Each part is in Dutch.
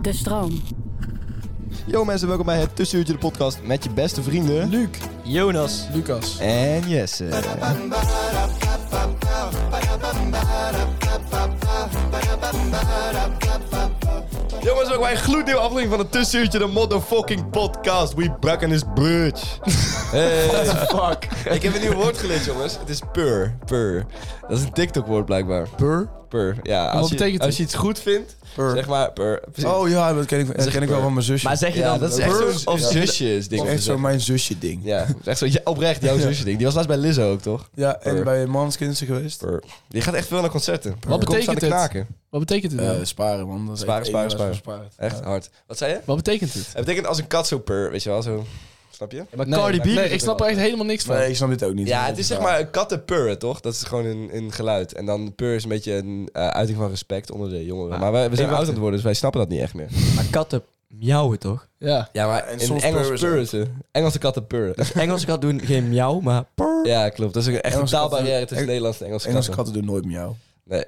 De stroom. Yo mensen, welkom bij het Tussenuurtje de podcast met je beste vrienden... Luc, Jonas Lucas. en Jesse. Jongens, welkom bij een gloednieuwe aflevering van het Tussenuurtje de motherfucking podcast. We back in this bitch. Fuck. Ik heb een nieuw woord geleerd jongens. Het is pur, pur. Dat is een TikTok woord blijkbaar. Pur? Pur, ja. Als wat je, betekent het? als je iets goed vindt, Pur. zeg maar pur. Precies. Oh ja, dat ken ik, dat Zeg ken ik wel pur. van mijn zusje. Maar zeg je ja, dan dat is echt pur zo'n of ja. zusjes ding. dat is echt zo mijn zusje ding. Ja, Ja, dat is echt zo ja, oprecht jouw zusje ding. Die was laatst bij Lizzo ook, toch? en Pur. bij Manskindse geweest. Purr. Die gaat echt veel naar concerten. Wat Komt staan betekent te het? knaken. Wat betekent nou? het? Eh, dan? sparen man. Dat is Sparen, echt sparen, één waar ze sparen. bespaart. Echt hard. Wat zei je? Wat betekent het? Het betekent als een kat zo purr, weet je wel, zo. Snap je? Maar Nee, Cardi B doet Nee, ik het snap er wel. echt helemaal niks van. Nee, ik snap dit ook niet. Ja, het is zeg maar een katten purren, toch? Dat is gewoon een, een geluid. En dan purr is een beetje een eh, uiting van respect onder de jongeren. Maar- Maar wij, we zijn Hey, wacht oud aan het worden, dus wij snappen dat niet echt meer. Maar katten miauwen toch? Ja. Ja, maar en in soms Engels purren ze purren ze. Engelse katten purren. Engelse kat doen geen miauw, maar purr. Ja, klopt. Dat is ook echt Engelse een katten- taalbarrière tussen Eng- Nederlands en Engelse Engelse katten. katten doen nooit miauw. Nee.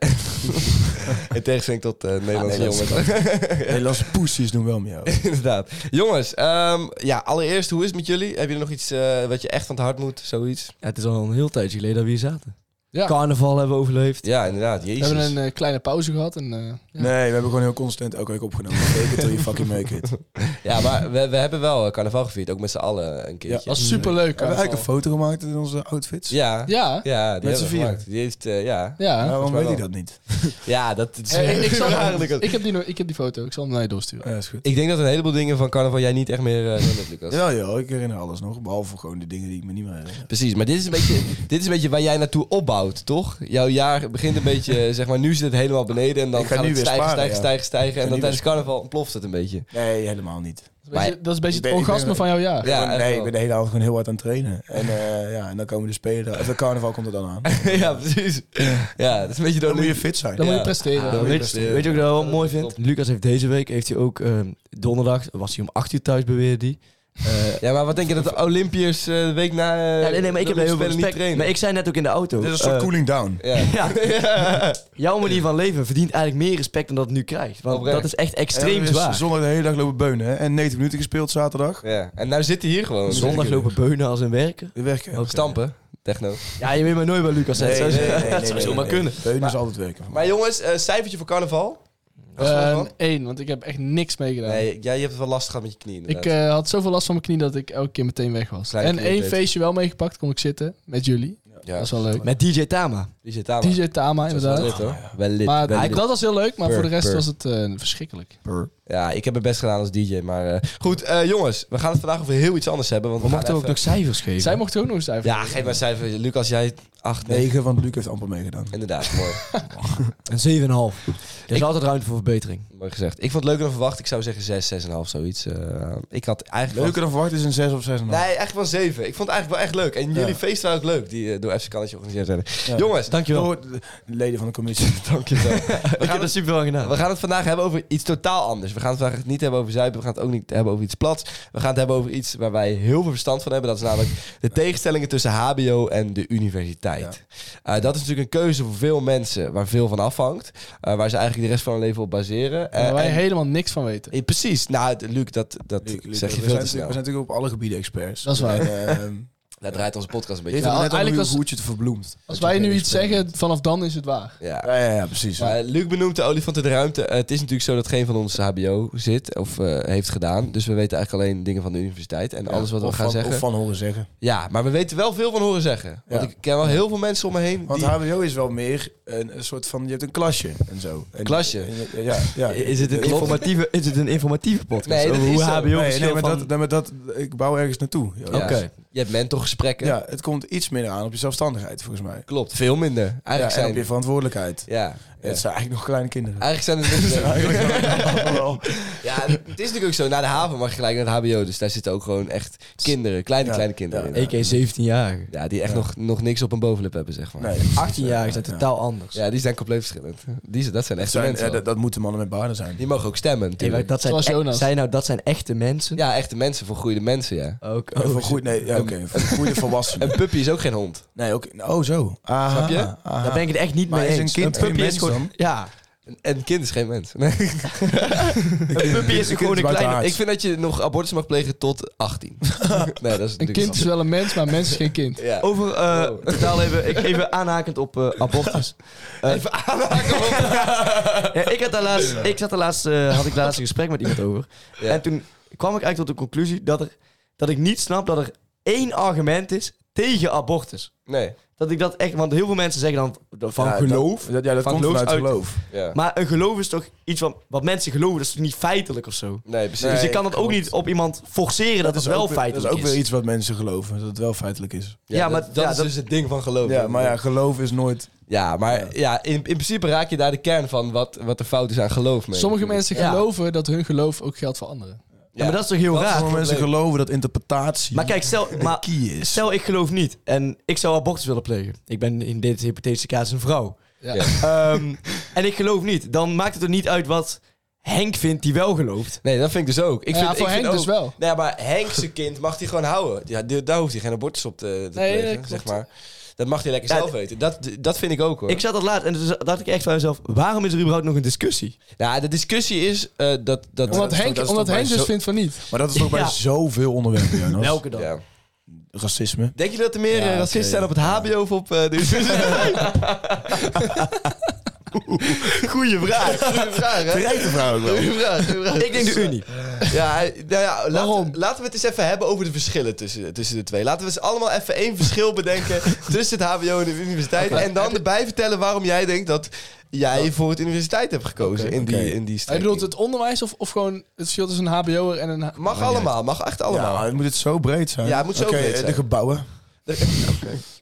in tegenstelling tot eh, Nederlandse Nederlandse jongens. Nederlandse poesjes doen wel miauw. Inderdaad. Jongens, ehm, ja, allereerst, hoe is het met jullie? Heb je nog iets eh, wat je echt van het hart moet? Zoiets? Ja, het is al een heel tijdje geleden dat we hier zaten. Ja. Carnaval hebben we overleefd. Ja, inderdaad. We Jezus. hebben een eh, kleine pauze gehad. En, eh, ja. Nee, we hebben gewoon heel constant elke week opgenomen. Fake it till you fucking make it. We Ja, maar we, we hebben wel eh, carnaval gevierd. Ook met z'n allen een Ja, keertje. was superleuk. hebben eigenlijk een carnaval. foto gemaakt in onze outfits. Oh, Ja. Ja. Ja. die hebben z'n we vieren. gemaakt. Die heeft, eh, ja. Ja. Waarom weet wel. ik dat niet? Ja, dat is Eh, ik, ik, zal- eigenlijk ik, heb die, no- ik heb die foto. Ik zal hem naar je doorsturen. Ja, is goed. Ik denk dat een heleboel dingen van carnaval jij niet echt meer eh, herinnert, Lucas. Ja, ja, ik herinner alles nog. Behalve gewoon de dingen die ik me niet meer herinner. Precies, maar dit is, een beetje, dit is een beetje waar jij naartoe opbouwt, toch? Jouw jaar begint een beetje, eh, zeg maar, nu zit het helemaal beneden en dan Ik ga gaat nu het weer stijgen, sparen, stijgen, ja. stijgen, stijgen. ga En dan nu tijdens carnaval ontploft het een beetje. Nee, helemaal niet. Dat is een beetje- dat is een beetje Ik ben- het ik ben- orgasme van jouw jaar. Ja, Ja, echt nee, wel. ik ben de hele avond gewoon heel hard aan het trainen. En, eh, ja, en dan komen de spelen. Of de carnaval komt er dan aan. ja, precies. Ja, dat is een beetje door Dan moet je fit zijn. Dan moet Ja. je presteren. Ehm, Ja. weet, je- weet je ook dat ik wel mooi vind? Lucas heeft deze week, heeft hij ook ehm, donderdag, was hij om 8 uur thuis beweerde die. Ja, maar wat denk je dat de Olympiërs eh, de week na... eh, ja, nee, nee, maar ik de heb Olympische heel veel Spelen respect. Maar ik zei net ook in de auto. Dit is een soort eh, cooling down. Ja. Ja, Ja. jouw manier van leven verdient eigenlijk meer respect dan dat het nu krijgt. Want Oprecht. dat is echt extreem En dan is zwaar. Zondag de hele dag lopen beunen. Hè? En 90 minuten gespeeld zaterdag. Ja. En nou zit hij hier gewoon. Zondag lopen beunen als een werken. Weer werken. Ook stampen. Techno. Ja, je weet maar nooit bij Lucas. hè. Nee, Zo- nee, nee, nee, dat zou nee, zomaar nee. kunnen. Beunen is altijd werken. Maar jongens, eh, cijfertje voor carnaval? Wat Ehm, vond je ervan? Eén, want ik heb echt niks meegedaan. nee, jij hebt het wel lastig gehad met je knieën. Ik inderdaad. eh, had zoveel last van mijn knie dat ik elke keer meteen weg was. Kleine En knie één update. feestje wel meegepakt, kon ik zitten met jullie. ja. eh, Dat is wel leuk. Met DJ Tama. Die zit daar. DJ Tama, Dat is wel inderdaad. lit, hoor. Wel lit. Maar wel hij- lit. dat was heel leuk, maar Purr, voor de rest purr. was het eh, verschrikkelijk. Ja, ik heb mijn best gedaan als DJ. Maar eh, goed, eh, jongens, we gaan het vandaag over heel iets anders hebben. Want We gaan mochten ook even- nog cijfers geven. Zij mocht ook nog eens even. Ja, geef maar cijfer. Lucas, jij 8, 9. 9 van Luc heeft amper meegedaan. Inderdaad, mooi. Een 7,5. Er is altijd ruimte voor verbetering. mooi gezegd. Ik vond het leuker dan verwacht. Ik zou zeggen 6, 6,5, zoiets. Eh, ik had eigenlijk... Leuker dan verwacht is een 6 of 6,5. Nee, eigenlijk wel 7. Ik vond het eigenlijk wel echt leuk. En Ja. jullie feest waren ook leuk, die eh, door FC Cannetje georganiseerd werden. Ja. Jongens, Dankjewel. Door Oh, de leden van de commissie. dankjewel. ik heb dat super lang gedaan. We gaan het vandaag hebben over iets totaal anders. We gaan het vandaag niet hebben over zuipen. We gaan het ook niet hebben over iets plats. We gaan het hebben over iets waar wij heel veel verstand van hebben. Dat is namelijk de tegenstellingen tussen HBO en de universiteit. Eh, dat is natuurlijk een keuze voor veel mensen waar veel van afhangt. eh, waar ze eigenlijk de rest van hun leven op baseren. Eh, Waar wij en- helemaal niks van weten. eh, precies. Nou, het- Luc, dat, dat Luc, Luc, zeg je we veel zijn te natuurlijk- snel. We zijn natuurlijk op alle gebieden experts. Dat is waar. En, ehm, Daar draait onze podcast Dit een beetje Ja, ja, net eigenlijk al als- hoe goed je het verbloemt. Als wij nu iets zeggen, vanaf dan is het waar. om. Ja. Ja, ja, ja, precies. Maar Luc benoemt de olifant in de ruimte. Eh, het is natuurlijk zo dat geen van ons HBO zit of eh, heeft gedaan. Dus we weten eigenlijk alleen dingen van de universiteit. En alles wat we Of gaan van- zeggen. Of van horen zeggen. Ja, maar we weten wel veel van horen zeggen. Want Ja. ik ken wel heel veel mensen om me heen. Want die... HBO is wel meer een, een soort van, je hebt een klasje en zo. En- Klasje? en je- ja, ja. Is het, een Ik vond- informatieve, is het een informatieve podcast? Nee, dat Over is hoe zo. HBO Nee, verschil nee, maar van... dat, nee, maar dat, ik bouw ergens naartoe. Ja, Ja. Oké. Je hebt mentorgesprekken. Ja, het komt iets minder aan op je zelfstandigheid, volgens mij. Klopt, veel minder. Ja, Eigenlijk en zijn op je verantwoordelijkheid. Ja. ja. Het zijn eigenlijk nog kleine kinderen. Eigenlijk zijn het Het zijn eigenlijk nog- Oh, Ja, het is natuurlijk ook zo. Naar de haven mag je gelijk naar het HBO. Dus daar zitten ook gewoon echt kinderen, kleine, Ja, kleine ja. kinderen in. EK 17-jarige. Ja, die echt nog, nog niks op een bovenlip hebben, zeg maar. Nee, precies. 18-jarigen zijn Ja. totaal anders. Ja, die zijn compleet verschillend. Die, zijn- dat zijn Het echte zijn, mensen. ja, dat, dat moeten mannen met baarden zijn. Die mogen ook stemmen, Nee, maar natuurlijk. dat zijn, Zoals e- Jonas. zijn nou, dat zijn echte mensen. Ja, echte mensen, volgroeide mensen, ja. Ook, Een ook- vergoeid, nee, Ehm, ja, oké, een vergoeide volwassene. Een puppy is ook geen hond. Nee, oké, oh zo. Aha, Snap je? aha. Daar ben ik het echt niet Maar mee is eens. een kind geen puppy mens dan? Ja, En een kind is geen mens. Nee. een puppy kind is gewoon is een buiten kleine... haar. Ik vind dat je nog abortus mag plegen tot 18. nee, dat is Een natuurlijk kind is wel een mens, maar een mens is geen kind. Ja. Over, eh, Wow. totaal even, ik even aanhakend op eh, abortus. Eh, Even aanhaken, man. Ja, ik had daar laatst, ik zat daar laatst, eh, had ik daar laatst een gesprek met iemand over. Ja. En toen kwam ik eigenlijk tot de conclusie dat, er, dat ik niet snap dat er één argument is tegen abortus. Nee. Dat ik dat echt, want heel veel mensen zeggen dan van Ja, dat- geloof. Dat, ja, dat Van komt geloof vanuit uit- geloof. Ja. Maar een geloof is toch iets van, wat mensen geloven, dat is toch niet feitelijk of zo? Nee, precies. dus je Nee, kan dat ook klopt. niet op iemand forceren dat, het wel ook weer- feitelijk Dat is ook weer iets wat mensen geloven, dat het wel feitelijk is. Ja, Ja, maar maar- dat, ja, is dat- dus het ding van geloof. Ja, maar ja, geloof is nooit... Ja, maar ja, in, in principe raak je daar de kern van wat, wat er fout is aan geloof mee. Sommige mensen Ja. geloven dat hun geloof ook geldt voor anderen. Ja, maar dat is toch heel raar? Sommige mensen geloven dat interpretatie Maar kijk, stel, maar, key is. stel ik geloof niet en ik zou abortus willen plegen. Ik ben in dit hypothetische casus een vrouw. Ja. Ja. Ehm, en ik geloof niet. Dan maakt het er niet uit wat Henk vindt die wel gelooft. Nee, dat vind ik dus ook. Ik Ja, vind, voor ik Henk vind dus ook- wel. Nee, maar Henk zijn kind mag hij gewoon houden. Ja, die- daar hoeft hij geen abortus op te, te Nee, plegen, dat klopt. zeg maar. Dat mag hij lekker Ja, zelf weten. Dat, dat vind ik ook hoor. Ik zat dat laat en toen dacht ik echt bij mezelf: waarom is er überhaupt nog een discussie? Ja, de discussie is eh, dat... dat Omdat dat is Henk, toch- dat is omdat toch bij Henk dus zo- vindt van niet. Maar dat is ook bij Ja. zoveel onderwerpen, Jonas. Welke dan? ja. Racisme. Denk je dat er meer Ja, eh, racisten oké. zijn op het HBO of op eh, de Goeie vraag. Goeie vraag, hè? Terechte vraag ook wel. Goeie vraag, goeie vraag. Ik denk de Unie. Ja, nou ja, laten, Waarom? laten we het eens even hebben over de verschillen tussen, tussen de twee. Laten we eens allemaal even één verschil bedenken tussen het HBO en de universiteit. En dan erbij vertellen waarom jij denkt dat jij voor het universiteit hebt gekozen in die, Oké. in die Hij strekking. bedoelt het onderwijs of, of gewoon het verschil tussen een hbo'er en een... h- Mag allemaal, mag echt Oh, Ja, allemaal. het moet het zo breed zijn. Ja, het moet zo Oké, breed zijn. De gebouwen. Het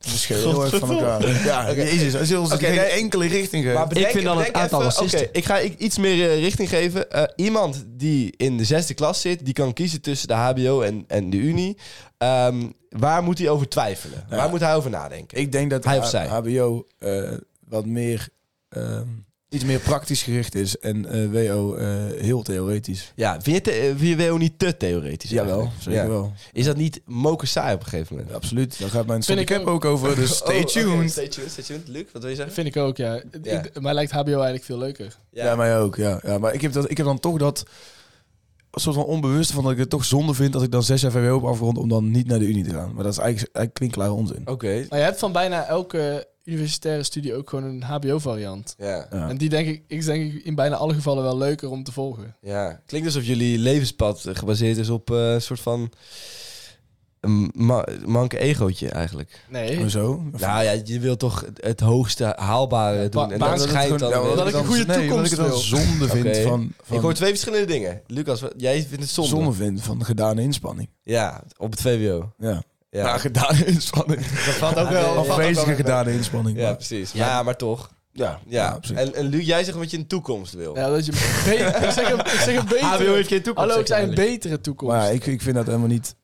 verschilt heel erg van elkaar. Ja, jezus. Als je ons Oké, geen nee. enkele richting geeft. Maar bedenk- vind dan bedenk een aantal even- racisten. Oké, ik ga i- iets meer eh, richting geven. Eh, iemand die in de zesde klas zit, die kan kiezen tussen de HBO en, en de Unie. Ehm, waar moet hij over twijfelen? Ja. Waar moet hij over nadenken? ik denk dat Hij of H- zij. HBO eh, wat meer... ehm, iets meer praktisch gericht is. En eh, WO eh, heel theoretisch. Ja, vind je, te- eh, vind je WO niet te theoretisch? Jawel, eigenlijk? zeker Ja. wel. Is dat niet moker saai op een gegeven moment? Absoluut. Daar gaat mijn Vind ik ik heb ook over. Dus stay tuned. Oh, stay tuned, stay tuned. Luc, wat wil je zeggen? Vind ik ook, ja. Ja. Ik- mij lijkt hbo eigenlijk veel leuker. Ja, mij ook. Ja. ja maar ik heb, dat, ik heb dan toch dat soort van onbewust van dat ik het toch zonde vind dat ik dan zes jaar VWO heb afgerond om dan niet naar de Unie te gaan. Maar dat is eigenlijk, eigenlijk klinkklare onzin. Oké. Maar je hebt van bijna elke universitaire studie ook gewoon een hbo-variant. Ja. Ja. En die denk ik, is denk ik in bijna alle gevallen wel leuker om te volgen. ja. Klinkt alsof jullie levenspad eh, gebaseerd is op eh, een soort van... Een ma- manke egootje eigenlijk. Nee. Hoezo? Of- Nou ja, je wilt toch het- het hoogste haalbare doen. En maar dat dat het schijnt gewoon- dan... ja, weer- omdat dat ik dan- een goede nee, omdat toekomst ik het dan zonde vind Oké. van, van Ik hoor twee verschillende dingen. Lucas, wat- jij vindt het zonde. zonde. vind van gedane inspanning. Ja, op het VWO. Ja. Ja, Nou, gedane inspanning. dat valt ook Wel wel. afwezige gedane inspanning. Ja, maar- precies. Ja, maar toch. ja, ja, Ja. precies. en, en Luc, jij zegt wat je in de toekomst wil. Ja, dat je be- ik, zeg een, ik zeg een betere... HBO heeft geen toekomst, Hallo, ik zegt zei een Henry. betere toekomst. Maar ja, ik, ik vind dat helemaal niet.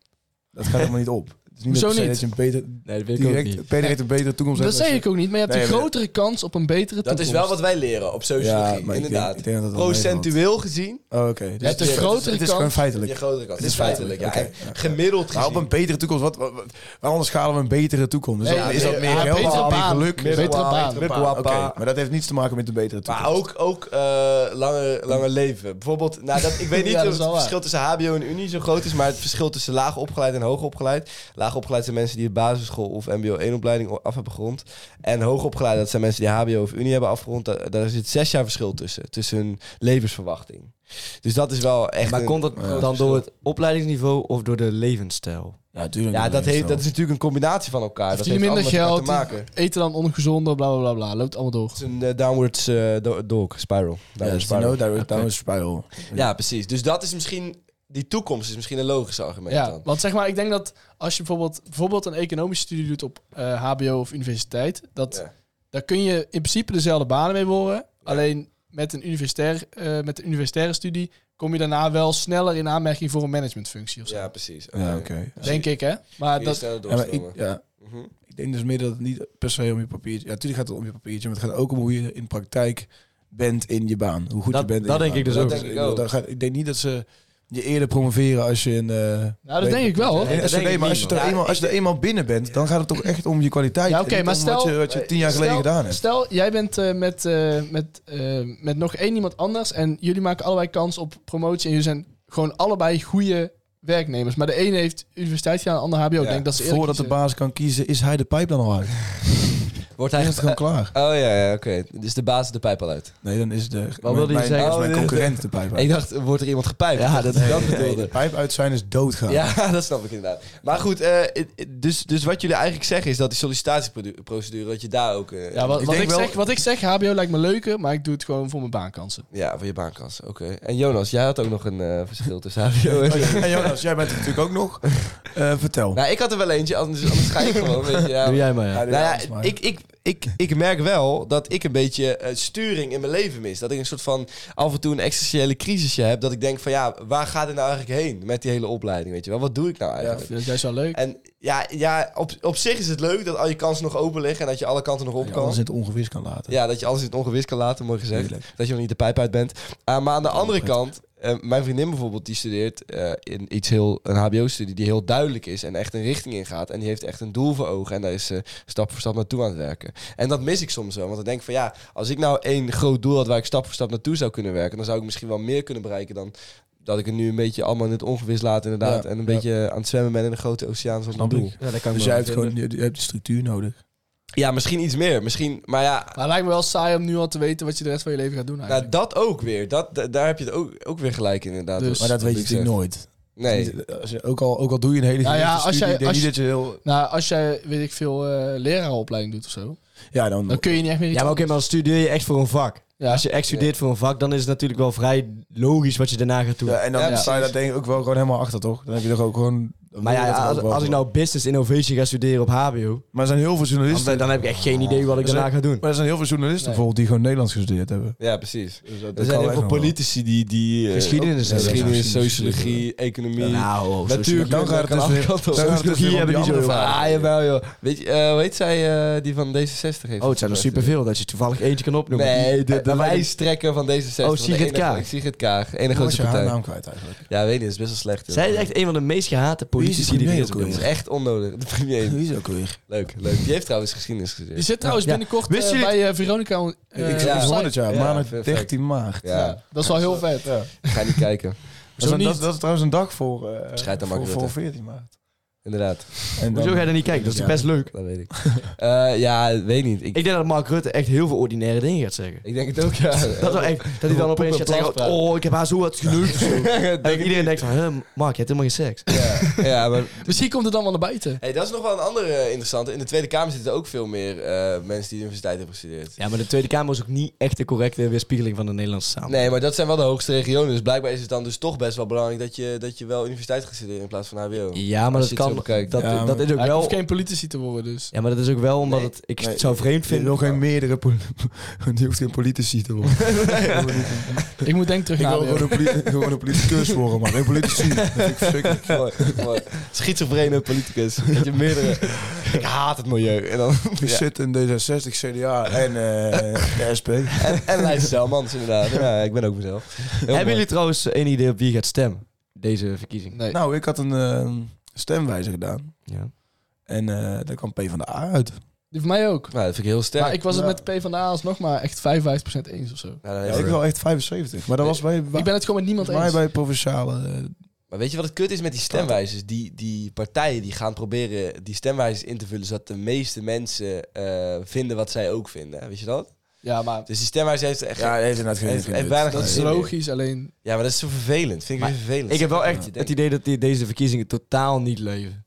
Dat gaat helemaal niet op. Het is niet Hoezo dat per se niet? dat je een beter, Nee, dat weet ik ook niet. direct, direct een betere toekomst dat hebt als zeg je- ik ook niet, maar je hebt Nee, een maar- grotere kans op een betere Dat is toekomst. wel wat wij leren op sociologie, Ja, maar ik inderdaad. denk- ik denk dat dat wel Procentueel gezien, Oh, oké. Dus Je hebt een het is- grotere Het is kans- gewoon feitelijk. je grotere kans. Het is is feitelijk, ja. feitelijk, En Gemiddeld Maar op gezien. een betere toekomst, wat, wat, wat- waar anders schalen we een betere toekomst? Dus Nee, dan is dat ja, meer ja, geld, betere meer baan. geluk? Betere Oké, baan. Betere Oké, baan. maar dat heeft niets te maken met een betere toekomst. Maar ook, ook eh, langer, langer leven. Bijvoorbeeld, nou, dat, ik weet niet Ja, dat of is het wel waar. verschil tussen HBO en Unie zo groot is, maar het verschil tussen laag opgeleid en hoog opgeleid. Laagopgeleid zijn mensen die de basisschool of mbo 1 opleiding af hebben gerond. En hoogopgeleid, dat zijn mensen die hbo of unie hebben afgerond. Daar, daar zit zes jaar verschil tussen, tussen hun levensverwachting. Dus dat is wel echt maar een- komt dat Ja. dan door het opleidingsniveau of door de levensstijl? Ja, natuurlijk. Ja, dat, heeft, dat is natuurlijk een combinatie van elkaar. Dat Verdienen heeft minder allemaal geld, met elkaar te maken. eten dan ongezonder, bla bla bla bla. Loopt allemaal door. Het is een eh, downwards eh, do- dog, spiral. Ja, Downward dat is spiral. no direct down spiral. Ja, precies. Dus dat is misschien... Die toekomst is misschien een logisch argument Ja, dan. want zeg maar, ik denk dat als je bijvoorbeeld, bijvoorbeeld een economische studie doet op eh, HBO of universiteit, dat Ja. daar kun je in principe dezelfde banen mee worden. Alleen met een, universitair, eh, met een universitaire studie kom je daarna wel sneller in aanmerking voor een managementfunctie of zo. Ja, precies. Dus Ja, oké. Denk ik, hè? Maar dat, dat... Ja, maar ik, ja, Mhm. ik denk dus meer dat het niet per se om je papiertje... Ja, natuurlijk gaat het om je papiertje, maar het gaat ook om hoe je in de praktijk bent in je baan. Hoe goed Dat- je bent in dat je denk baan. ik dus ook. Dat Denk ik ook. dat gaat- ik denk niet dat ze je eerder promoveren als je een... eh, nou, dat denk ik wel, hoor. Nee, dat SVB, denk ik maar niet, als je, er man. eenmaal, als je er eenmaal binnen bent, dan gaat het toch echt om je kwaliteit. Ja, en oké, niet maar om stel- eh, wat je, wat je tien jaar Stel- geleden gedaan hebt. Stel, jij bent eh, met, eh, met, eh, met nog één iemand anders en jullie maken allebei kans op promotie en jullie zijn gewoon allebei goede werknemers. Maar de ene heeft universiteit gedaan, de ander HBO. Ik Ja, denk dat ze eerder Voordat de kiezen. baas kan kiezen, is hij de pijp dan al uit. Wordt Hij hij... is het gewoon klaar. Oh ja, ja oké. Dus de baas de pijp al uit. Nee, dan is de Wat wilde je mijn, zeggen? is mijn Oh, dit- concurrent de pijp uit. Ik dacht, wordt er iemand gepijpt? Ja, dat is dat Nee, bedoelde. de pijp uit zijn is doodgaan. Ja, dat snap ik inderdaad. Maar goed, eh, it- it- dus, dus wat jullie eigenlijk zeggen is dat die sollicitatieprocedure, dat je daar ook... eh, Ja, wat, Ik wat denk ik wel- zeg, wat ik zeg, HBO lijkt me leuker, maar ik doe het gewoon voor mijn baankansen. Ja, voor je baankas. Oké. En Jonas, jij had ook nog een eh, verschil tussen HBO Oh, en... Oh, En Jonas, jij bent er natuurlijk ook nog. Eh, vertel. nou, ik had er wel eentje, anders, anders ga ik gewoon, weet je. Ja, Doe jij maar, ja. Nou anders ja, maar. ik, ik, ik, ik merk wel dat ik een beetje eh, sturing in mijn leven mis. Dat ik een soort van af en toe een existentiële crisisje heb. Dat ik denk van ja, waar gaat het nou eigenlijk heen met die hele opleiding? Weet je wel, wat doe ik nou eigenlijk? Dat is juist wel leuk. En ja, ja op, op zich is het leuk dat al je kansen nog open liggen en dat je alle kanten nog op Ja, kan. Anders in het ongewis kan laten. Ja, dat je alles in het ongewis kan laten, mooi gezegd. Tuurlijk. Dat je nog niet de pijp uit bent. Ah, maar aan de andere prettig. kant, eh, mijn vriendin bijvoorbeeld, die studeert eh, in iets heel, een HBO-studie die heel duidelijk is en echt een richting in gaat. En die heeft echt een doel voor ogen. En daar is ze stap voor stap naartoe aan het werken. En dat mis ik soms wel. Want dan denk ik van ja, als ik nou één groot doel had waar ik stap voor stap naartoe zou kunnen werken, dan zou ik misschien wel meer kunnen bereiken dan. Dat ik het nu een beetje allemaal in het ongewis laat, inderdaad. Ja, en een ja. beetje aan het zwemmen ben in de grote oceaan zoals mijn Snap doel. ik. Ja, dat kan Dus jij hebt gewoon je, je hebt die structuur nodig. Ja, misschien iets meer. Misschien, maar ja, Maar het lijkt me wel saai om nu al te weten wat je de rest van je leven gaat doen Nou, eigenlijk. dat ook weer. Dat, da- daar heb je het ook, ook weer gelijk in, inderdaad. Dus- Maar dat weet je natuurlijk nog. nooit. Dus- Nee. Als je, ook, al, ook al doe je een hele Nou ja, gerichte als studie, jij- ik denk als niet dat je heel... Nou, als jij, weet ik veel, eh leraaropleiding doet of zo, Ja, dan, dan kun je niet echt meer iets Ja, maar oké, maar anders. dan studeer je echt voor een vak. Ja. Als je echt studeert voor een vak, dan is het natuurlijk wel vrij logisch wat je daarna gaat doen. Ja, en dan Ja, sta je precies. daar denk ik ook wel gewoon helemaal achter, toch? Dan heb je toch ook gewoon... dan maar wil je dat ja, toch als, ook wel als ik gewoon. nou business innovation ga studeren op HBO, Maar er zijn heel veel dan, journalisten... ben- dan heb ik echt geen idee wat ik Dus daarna dat- ga doen. Maar er zijn heel veel journalisten Nee. bijvoorbeeld die gewoon Nederlands gestudeerd hebben. Ja, precies. Dus dat er zijn heel veel politici die... die eh, Geschiedenis ook- is- geschiedenis, ja, sociologie, economie. Nou, Natuurlijk, Dan gaat het dus weer- dan gaat het dus weer om die andere vraag. Ah, jawel joh. Weet je, eh, hoe heet zij eh, die van D66 heeft? Oh, het zijn er superveel dat je toevallig eentje kan opnoemen. Ah, Nee, de, de Waarbij lijsttrekker van D66. van de Sigrid ene- Kaag. Sigrid Kaag, ene Dan was grootste je haar partij. naam kwijt eigenlijk. Ja, weet je, dat is best wel slecht. joh. Zij is echt een van de meest gehate Wie is politici die die er premier is. ook Dat is jongens. echt onnodig. De premier. is ook weer? Leuk, leuk. Die heeft trouwens geschiedenis Je gestudeerd. zit trouwens Ja. binnenkort Wist eh, jullie- bij eh, Veronica. eh, ik ik ja. hoorde site. het ja, Ja, maandag perfect. 13 maart. Ja, Dat is wel heel vet. Ja. ga niet kijken. Dat, is een- niet. dat, dat is trouwens een dag voor, eh, Schijt aan voor, Mark voor Rutte. 14 maart. Inderdaad, En Hoezo ga je er niet kijken? Dat is Ja. best leuk. dat weet ik. Eh, ja, weet niet. Ik, Ik denk dat Mark Rutte echt heel veel ordinaire dingen gaat zeggen. Ik denk het ook, ja. Dat, wel echt, dat hij dan opeens gaat zeggen, oh, ik heb haar zo wat geneukt. of zo. En iedereen denkt van, hè, Mark, je hebt helemaal geen seks. ja, ja, maar... Misschien komt het dan wel naar buiten. Hey, dat is nog wel een andere eh, interessante. In de Tweede Kamer zitten ook veel meer eh, mensen die de universiteit hebben gestudeerd. Ja, maar de Tweede Kamer is ook niet echt de correcte weerspiegeling van de Nederlandse samenleving. Nee, maar dat zijn wel de hoogste regionen. Dus blijkbaar is het dan dus toch best wel belangrijk dat je, dat je wel universiteit gaat studeren in plaats van HBO. Ja, maar Als dat je het zo kan. bekijkt. Dat, Ja, dat maar- is ook Hij wel. hoeft geen politici te worden, dus. Ja, maar dat is ook wel omdat Nee. het, ik Nee. het zou vreemd vind vinden. nog geen meerdere... poli- Die hoeft geen politici te worden. Ik moet denk ik terug Ik wil gewoon naar HBO. een, poli- gewoon een politicus worden, maar geen politici. Dat vind ik verschrikkelijk. mooi, mooi. Schizofrene politicus. Dat je meerdere... Ik haat het milieu. En, dan, Ik Dus- zit in D66, CDA en eh, de SP. en, en Lijst Selmans, inderdaad. Ja, ik ben ook mezelf. Heel mooi. Hebben jullie trouwens een idee op wie gaat stemmen? Deze verkiezing. Nee. Nou, ik had een eh, stemwijzer gedaan. Ja. En eh daar kwam P van de A uit. Die van mij ook. Nou, dat vind ik heel sterk. Maar ik was het Ja. met de PvdA alsnog maar echt 55% eens of zo. Nou, dan Ja, heeft- ik wel echt 75. Maar dat was bij, Ik ben het gewoon met niemand volgens mij eens. bij provinciale. eh, Maar weet je wat het kut is met die stemwijzers? Die, die partijen die gaan proberen die stemwijzers in te vullen... zodat de meeste mensen eh, vinden wat zij ook vinden. Weet je dat? Ja, maar Dus die stemwijzer heeft er echt... Ja, Ja, hij heeft inderdaad geen Heeft- geen heeft nut. weinig dat is Nee. logisch. Alleen, maar dat is zo vervelend. Vind ik weer vervelend. Ik heb wel echt Ja. het idee dat die, deze verkiezingen totaal niet leven.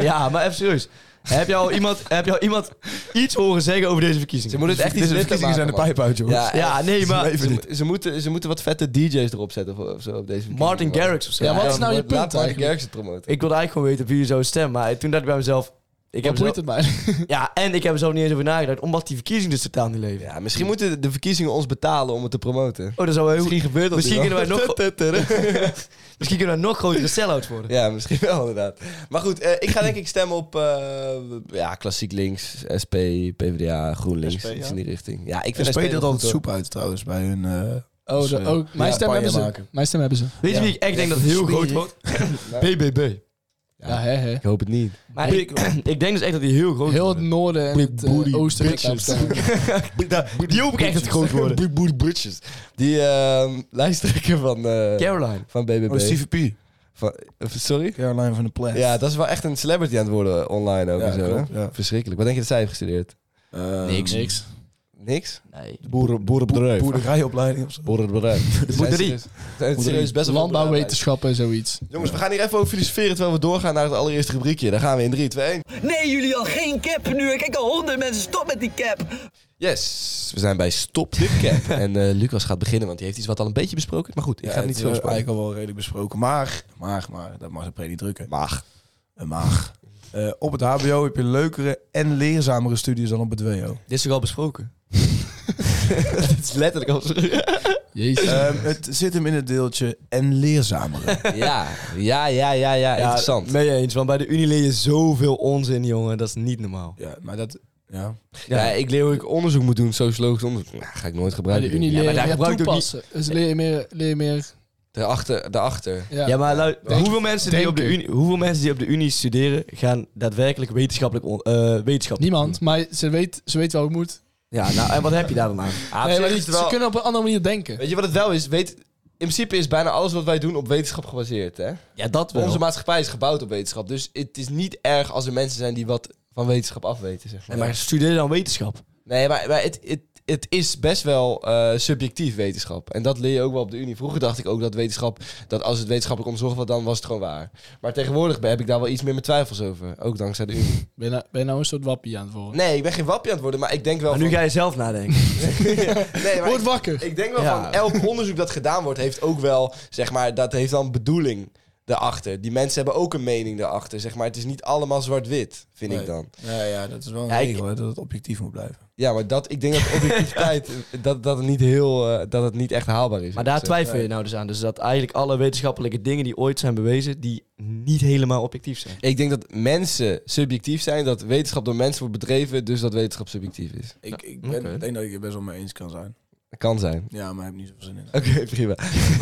ja, maar even serieus. Heb je, al iemand, heb je al iemand iets horen zeggen over deze Ze verkiezingen? moeten het echt iets Deze nuttigs verkiezingen zijn de maken, man. pijp uit, jongens. Ja, Ja, nee, ze- maar- Ze, ze moeten, ze moeten wat vette DJ's erop zetten of, of zo op deze Martin verkiezingen. Garrix of zo. Ja, wat is dan nou je wordt- laat punt Martin eigenlijk? Garrix het promoten. Ik wilde eigenlijk gewoon weten wie je zou stemmen. Maar toen dacht ik bij mezelf... Ik heb wat er boeit zo- het mij? ja, en ik heb er zo niet eens over nagedacht. Omdat die verkiezingen dus totaal niet leven. Ja, misschien moeten de verkiezingen ons betalen om het te promoten. Oh, dat zou wel heel Misschien gebeurt dat Misschien nu wel. kunnen wij nog- Misschien kunnen we nog grotere sell-outs worden. Ja, misschien wel inderdaad. Maar goed, eh, ik ga denk ik stemmen op eh, ja, klassiek links, SP, PvdA, GroenLinks. SP, ja. iets in die richting. Ja, ik Ik vind SP SP deelt wel altijd goed, hoor. soep uit trouwens bij hun... eh, Oh, de, eh, oh, mijn ja, stem hebben ze. paaier maken. Mijn stem hebben ze. Weet je wie ik echt denk dat heel groot wordt? BBB. Ja, hè, hè. Ik hoop het niet. Maar ik, ik denk dus echt dat die heel groot Heel wordt. het noorden en het eh, booty oosten. gaat bitches. stemmen. Die hoop ik echt dat het groot worden. Big booty butches. Die ehm lijsttrekker van, eh Caroline. van BBB. Oh, CVP. Van- eh, sorry? Caroline van de Plet. Ja, dat is wel echt een celebrity aan het worden online ook. Ja, en zo, klopt, hè? ja. Verschrikkelijk. Wat denk je dat zij heeft gestudeerd? Eh, niks. Niks. Niks? Nee. Boeren, boerenbedrijf. Boerderijopleiding of zo. Boerenbedrijf. De boerderie. Serieus, best wel boerderijbedrijf. Landbouwwetenschappen, zoiets. Jongens, we gaan hier even over filosoferen terwijl we doorgaan naar het allereerste rubriekje. Daar gaan we in 3, 2, 1. Nee, jullie al geen cap nu. Ik kijk al honderd mensen. Stop met die cap. Yes, we zijn bij Stop de Cap. en eh, Lucas gaat beginnen, want die heeft iets wat al een beetje besproken. Maar goed, ik Ja, ga het eh, niet het zo is bespreken. eigenlijk al wel redelijk besproken. Maar, maar, maar, dat mag de pre niet drukken. Maag. Een maag. Eh, op het hbo heb je leukere en leerzamere studies dan op het wo. Dit is toch al besproken? Het is letterlijk al Jezus. Ehm, het zit hem in het deeltje en leerzamere. Ja, ja, ja, ja, ja, interessant. Mee eens, want bij de Unie leer je zoveel onzin, jongen. Dat is niet normaal. ja, maar dat... Ja. Ja, ik leer hoe ik onderzoek moet doen, sociologisch onderzoek. Nou, ga ik nooit Bij gebruiken. de Unie denk ik. leer daar je meer gebruikt ook toepassen. Dus leer je meer... Leer je meer Daarachter, daarachter. ja. Ja, maar lu- Denk- hoeveel, mensen die op de denken. unie, hoeveel mensen die op de Unie studeren, gaan daadwerkelijk wetenschappelijk on, eh, wetenschap Niemand, maar ze weet, ze weet wel hoe het moet. Ja, nou, en wat heb je daar dan aan? Ah, Nee, maar die- ze kunnen op een andere manier denken. Weet je wat het wel is? Weet, in principe is bijna alles wat wij doen op wetenschap gebaseerd, hè? Ja, dat wel. Onze maatschappij is gebouwd op wetenschap. Dus het is niet erg als er mensen zijn die wat van wetenschap afweten, zeg maar. Nee, maar studeer dan wetenschap. Nee, maar, maar het, het, het is best wel eh, subjectief wetenschap. En dat leer je ook wel op de Unie. Vroeger dacht ik ook dat wetenschap, dat als het wetenschappelijk onderzocht was, dan was het gewoon waar. Maar tegenwoordig ben- heb ik daar wel iets meer mijn twijfels over. Ook dankzij de Unie. Ben je nou, ben je nou een soort wappie aan het worden? Nee, ik ben geen wappie aan het worden, maar ik denk wel. Maar nu van- ga je zelf nadenken. nee, maar Word ik, wakker! ik denk wel Ja. van elk onderzoek dat gedaan wordt, heeft ook wel, zeg maar, dat heeft dan bedoeling daarachter. Die mensen hebben ook een mening daarachter, zeg maar. Het is niet allemaal zwart-wit, vind ik Nee. dan. Ja, ja, dat is wel een Ja, ik- regel, hè, dat het objectief moet blijven. Ja, maar dat, ik denk dat objectiviteit, dat, dat het niet heel, eh, dat het niet echt haalbaar is. Maar daar Zo. twijfel je nou dus aan. Dus dat eigenlijk alle wetenschappelijke dingen die ooit zijn bewezen, die niet helemaal objectief zijn. Ik denk dat mensen subjectief zijn, dat wetenschap door mensen wordt bedreven, dus dat wetenschap subjectief is. Ik, ik ben, oké. denk dat ik het best wel mee eens kan zijn. Dat kan zijn. Ja, maar ik heb niet zoveel zin in. Oké, prima.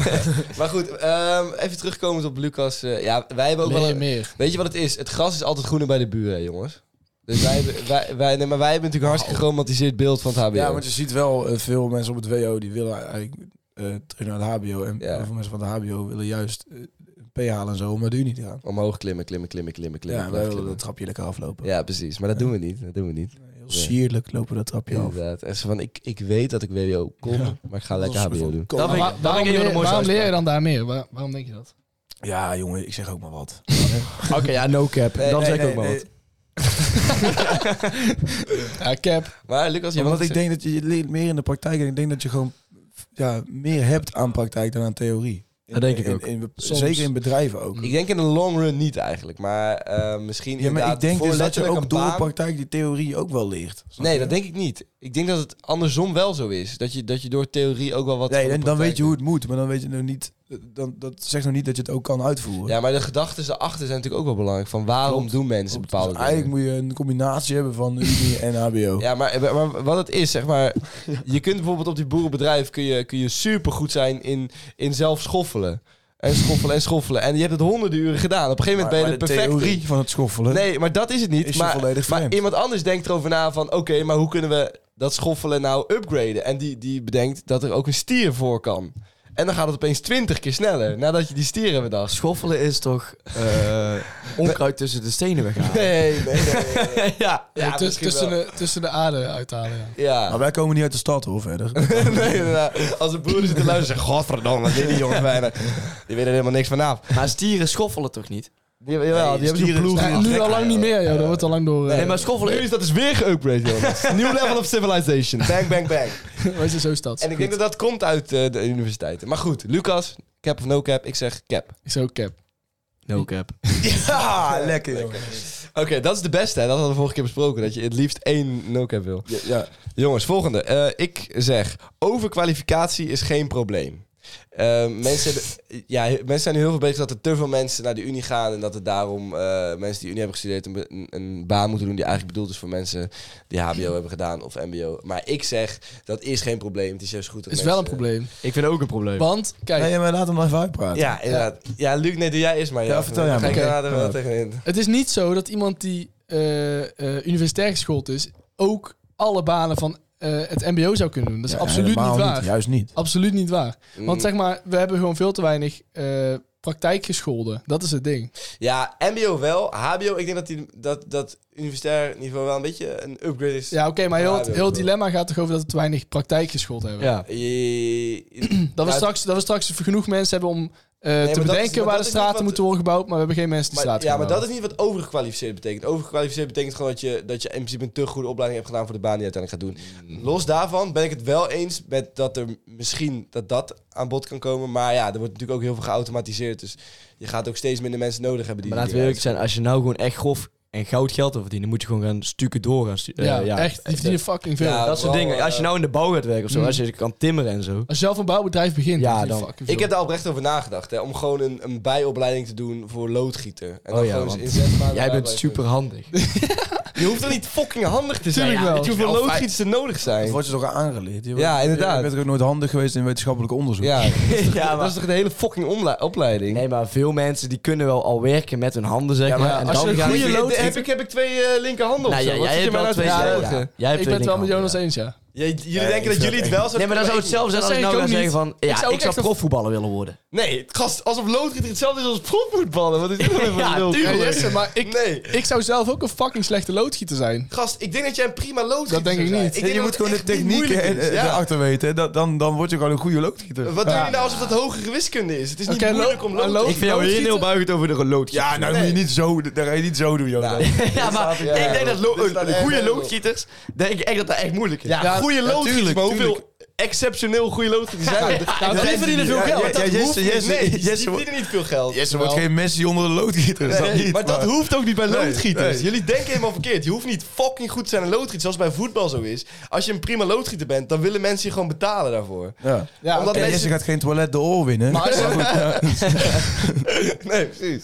maar goed, ehm, even terugkomend op Lucas. eh, ja, wij hebben ook Leer wel je een, meer. Weet je wat het is? Het gras is altijd groener bij de buren, hè, jongens. Dus wij, hebben- wij, wij, nee, maar wij hebben natuurlijk een hartstikke geromantiseerd beeld van het HBO. Ja, want je ziet wel eh, veel mensen op het WO die willen eigenlijk eh, terug naar het HBO. En Ja. heel veel mensen van het HBO willen juist eh, een P halen en zo om naar de Unie te gaan. Omhoog klimmen, klimmen, klimmen, klimmen, klimmen. Ja, wij klimmen, willen dat klimmen. trapje lekker aflopen. ja precies. Maar dat doen we niet. Dat doen we niet. Heel sierlijk lopen we dat trapje af. Inderdaad. En zo van, ik, ik weet dat ik WO kom, Ja. maar ik ga lekker Dat is HBO doen. een Dat Maar vind ik- waar- dat vind waarom ik een van de leer, mooiste waarom leer je dan uitspraken. daar meer? Waar- waarom denk je dat? Ja, jongen, ik zeg ook maar wat. Oké, ja, no cap. dan zeg ik ook maar nee. wat. Ja, cap. Maar Lucas, jij Want wilt ik iets denk dat je je leert meer in de praktijk. En ik denk dat je gewoon ja, meer hebt aan praktijk dan aan theorie. Dat denk ik In- ook. in- in- Soms. zeker in bedrijven ook. Ik denk in de long run niet eigenlijk, maar eh, misschien Ja, maar inderdaad ik denk voor dus dat je letterlijk ook een door baan- praktijk die theorie ook wel leert. Snap Nee, je? dat denk ik niet. Ik denk dat het andersom wel zo is. Dat je, dat je door theorie ook wel wat... Nee, van de dan, dan praktijk weet je hoe het moet, maar dan weet je nog niet. eh, Dan, dat zegt nog niet dat je het ook kan uitvoeren. doet. Ja, maar de gedachten erachter zijn natuurlijk ook wel belangrijk. Van waarom Klopt. doen mensen Dus bepaalde dingen? eigenlijk moet je een combinatie hebben van Unie en HBO. Ja, maar, maar wat het is, zeg maar... Je kunt bijvoorbeeld op die boerenbedrijf... kun je, kun je supergoed zijn in, in zelf schoffelen. En schoffelen en schoffelen. En je hebt het honderden uren gedaan. Op een gegeven maar, moment ben maar je de er perfect in. theorie van het schoffelen. Nee, maar dat is het niet. Is je maar, volledig maar vreemd. iemand anders denkt erover na van... Oké, maar hoe kunnen we dat schoffelen nou upgraden? En die, die bedenkt dat er ook een stier voor kan. En dan gaat het opeens 20 keer sneller nadat je die stieren bedacht. Schoffelen is toch eh, onkruid tussen de stenen weghalen. Nee, nee, nee. nee, nee. ja. Ja, tussen- misschien tussen, wel. de, tussen de aarde uithalen. Ja. Ja. Maar wij komen niet uit de stad hoor, verder. nee, inderdaad. Als een broer zit te luisteren, zegt, godverdomme, wat doen die jongens bijna? Die weten er helemaal niks vanaf. Maar stieren schoffelen toch niet? Die, jawel, Nee, die hebben zo'n stieren- ploeg. Ja, Ja, nu al lang niet meer, joh. Dat wordt al lang door. eh, Nee, maar Nu schoffelen... is dat dus weer geüpgrade, jongens. Nieuw level of civilization. Bang, bang, bang. Weet je, zo is dat. En ik denk dat dat komt uit eh, de universiteiten. Maar goed, Lucas, cap of no cap? Ik zeg cap. Is ook cap. No cap. Ja, Ah, lekker, joh. Oké, dat is de beste. Hè? Dat hadden we vorige keer besproken. Dat je het liefst één no cap wil. Ja, ja. Jongens, volgende. Eh, ik zeg, overkwalificatie is geen probleem. Eh, mensen, hebben- ja, he- mensen zijn nu heel veel bezig dat er te veel mensen naar de Unie gaan. En dat er daarom eh, mensen die Unie hebben gestudeerd een, be- een, een baan moeten doen die eigenlijk bedoeld is voor mensen die HBO hebben gedaan of MBO. Maar ik zeg, dat is geen probleem. Het is juist goed. Dat Is wel een mensen- probleem. Ik vind ook een probleem. Want, kijk, Nee, maar laat hem nog even uitpraten. Ja, inderdaad. Ja, Luc, nee, doe jij eerst maar. Ja, vertel Dan jij Ga maar. ik Oké. daarna er wel Ja. tegenin. het is niet zo dat iemand die eh, eh, universitair geschoold is, ook alle banen van eh, het MBO zou kunnen doen. Dat is Ja, absoluut niet helemaal waar. Juist niet. Absoluut niet waar. Want Mm. zeg maar, we hebben gewoon veel te weinig eh praktijkgescholden. Dat is het ding. Ja, MBO wel. HBO, ik denk dat, die, dat, dat universitair niveau wel een beetje een upgrade is. Ja, oké, maar heel, Ja, het, dat heel het wel. dilemma gaat toch over dat we te weinig praktijkgeschoold hebben. Ja. Je- Dat, we Ja, straks, dat we straks genoeg mensen hebben om eh, maar te dat is- bedenken maar waar dat is de straten wat- moeten worden gebouwd, maar we hebben geen mensen die Maar, straten ja, gaan maar dat bouwen. is niet wat overgekwalificeerd betekent. Overgekwalificeerd betekent gewoon dat je, dat je in principe een te goede opleiding hebt gedaan voor de baan die je uiteindelijk gaat Mm. doen. Los daarvan ben ik het wel eens met dat er misschien dat dat aan bod kan komen. Maar ja, er wordt natuurlijk ook heel veel geautomatiseerd. Dus je gaat ook steeds minder mensen nodig hebben die Maar die laten we dingen eerlijk zijn, als je nou gewoon echt grof en goud geld wil verdienen, moet je gewoon gaan stukken door gaan stu- eh, ja, echt, die verdienen fucking veel. Ja, Dat soort Vooral, dingen. Als je nou in de bouw gaat werken of zo, Mm. als je kan timmeren en zo. Als je zelf een bouwbedrijf begint, Ja, ja, dan. dan- fucking Ik veel. heb daar oprecht over nagedacht. Hè, om gewoon een, een bijopleiding te doen voor loodgieter. En Oh ja, gewoon eens want in zes maanden Jij bent daarbij- super handig. Je hoeft er niet fucking handig te zijn. Tuurlijk wel. Weet je hoeveel Wel fijn. loodgieters er nodig Dat zijn? wordt je toch aangeleerd? Je Ja, bent- inderdaad. Je bent toch ook nooit handig geweest in wetenschappelijk onderzoek? Ja, dat is toch, Ja, maar- dat is toch de hele fucking omla- opleiding? Nee, maar veel mensen die kunnen wel al werken met hun handen, zeg Ja, maar. maar en als dan je een gaan goede ze- lood... Heb ik, heb ik twee eh linkerhanden Nou of ja, zo? Wat jij zit je mij hebt wel nou te twee. Ja, vertellen? ja. Jij hebt Ik ben het twee wel met linkerhanden, Jonas ja. eens, ja. Jij- jullie Ja, ik denken dat vind jullie dat het wel zo Nee, maar dan zou het zelf zijn Dat als ik zeg ik nou zou ook zeggen van... Ja, Ik zou ook ik zou echt een- profvoetballer willen worden. Nee, gast, alsof loodgieter hetzelfde is als profvoetballen. Wat is dit nou Ja, voor lul? Ja, Jesse, maar ik, Nee. ik zou zelf ook een fucking slechte loodgieter zijn. Gast, ik denk dat jij een prima loodgieter Dat denk ik zou zijn. niet. denk je dat moet het gewoon de echt niet techniek moeilijk en, is. eh, Ja. erachter weten. hè. Dat, dan, dan word je gewoon een goede loodgieter. Wat doen jullie nou alsof dat hogere wiskunde is? Het is niet Oké, lo- moeilijk om een loodgieter... lood- Ik vind jou heel loodgieter- neerbuigend over de loodgieter. Ja, nou moet je niet zo, daar ga je niet zo doen, joh. Nou, Ja, maar ja, ik denk ja. dat lo- Dit een- staat een echt goede helemaal. loodgieters, denk ik echt dat dat echt moeilijk is. Ja, Ja, goede ja, loodgieters, tuurlijk, maar hoeveel exceptioneel goede loodgieters zijn er? Ja, dat Die is- verdienen veel Ja, geld. ja, dat Jesse, hoeft niet. Jesse, nee, die Jesse wordt- verdienen niet veel geld. Nou, Jesse wordt geen Messi onder de loodgieters. Nee, dat niet, maar dat hoeft ook niet bij Nee, loodgieters. nee. Jullie denken helemaal verkeerd. Je hoeft niet fucking goed te zijn in loodgieten, zoals bij voetbal zo is. Als je een prima loodgieter bent, dan willen mensen je gewoon betalen daarvoor. Ja. Ja, Omdat oké. En mensen- Jesse gaat geen toilet de oor winnen. Maar, Maar als je- Nee, precies.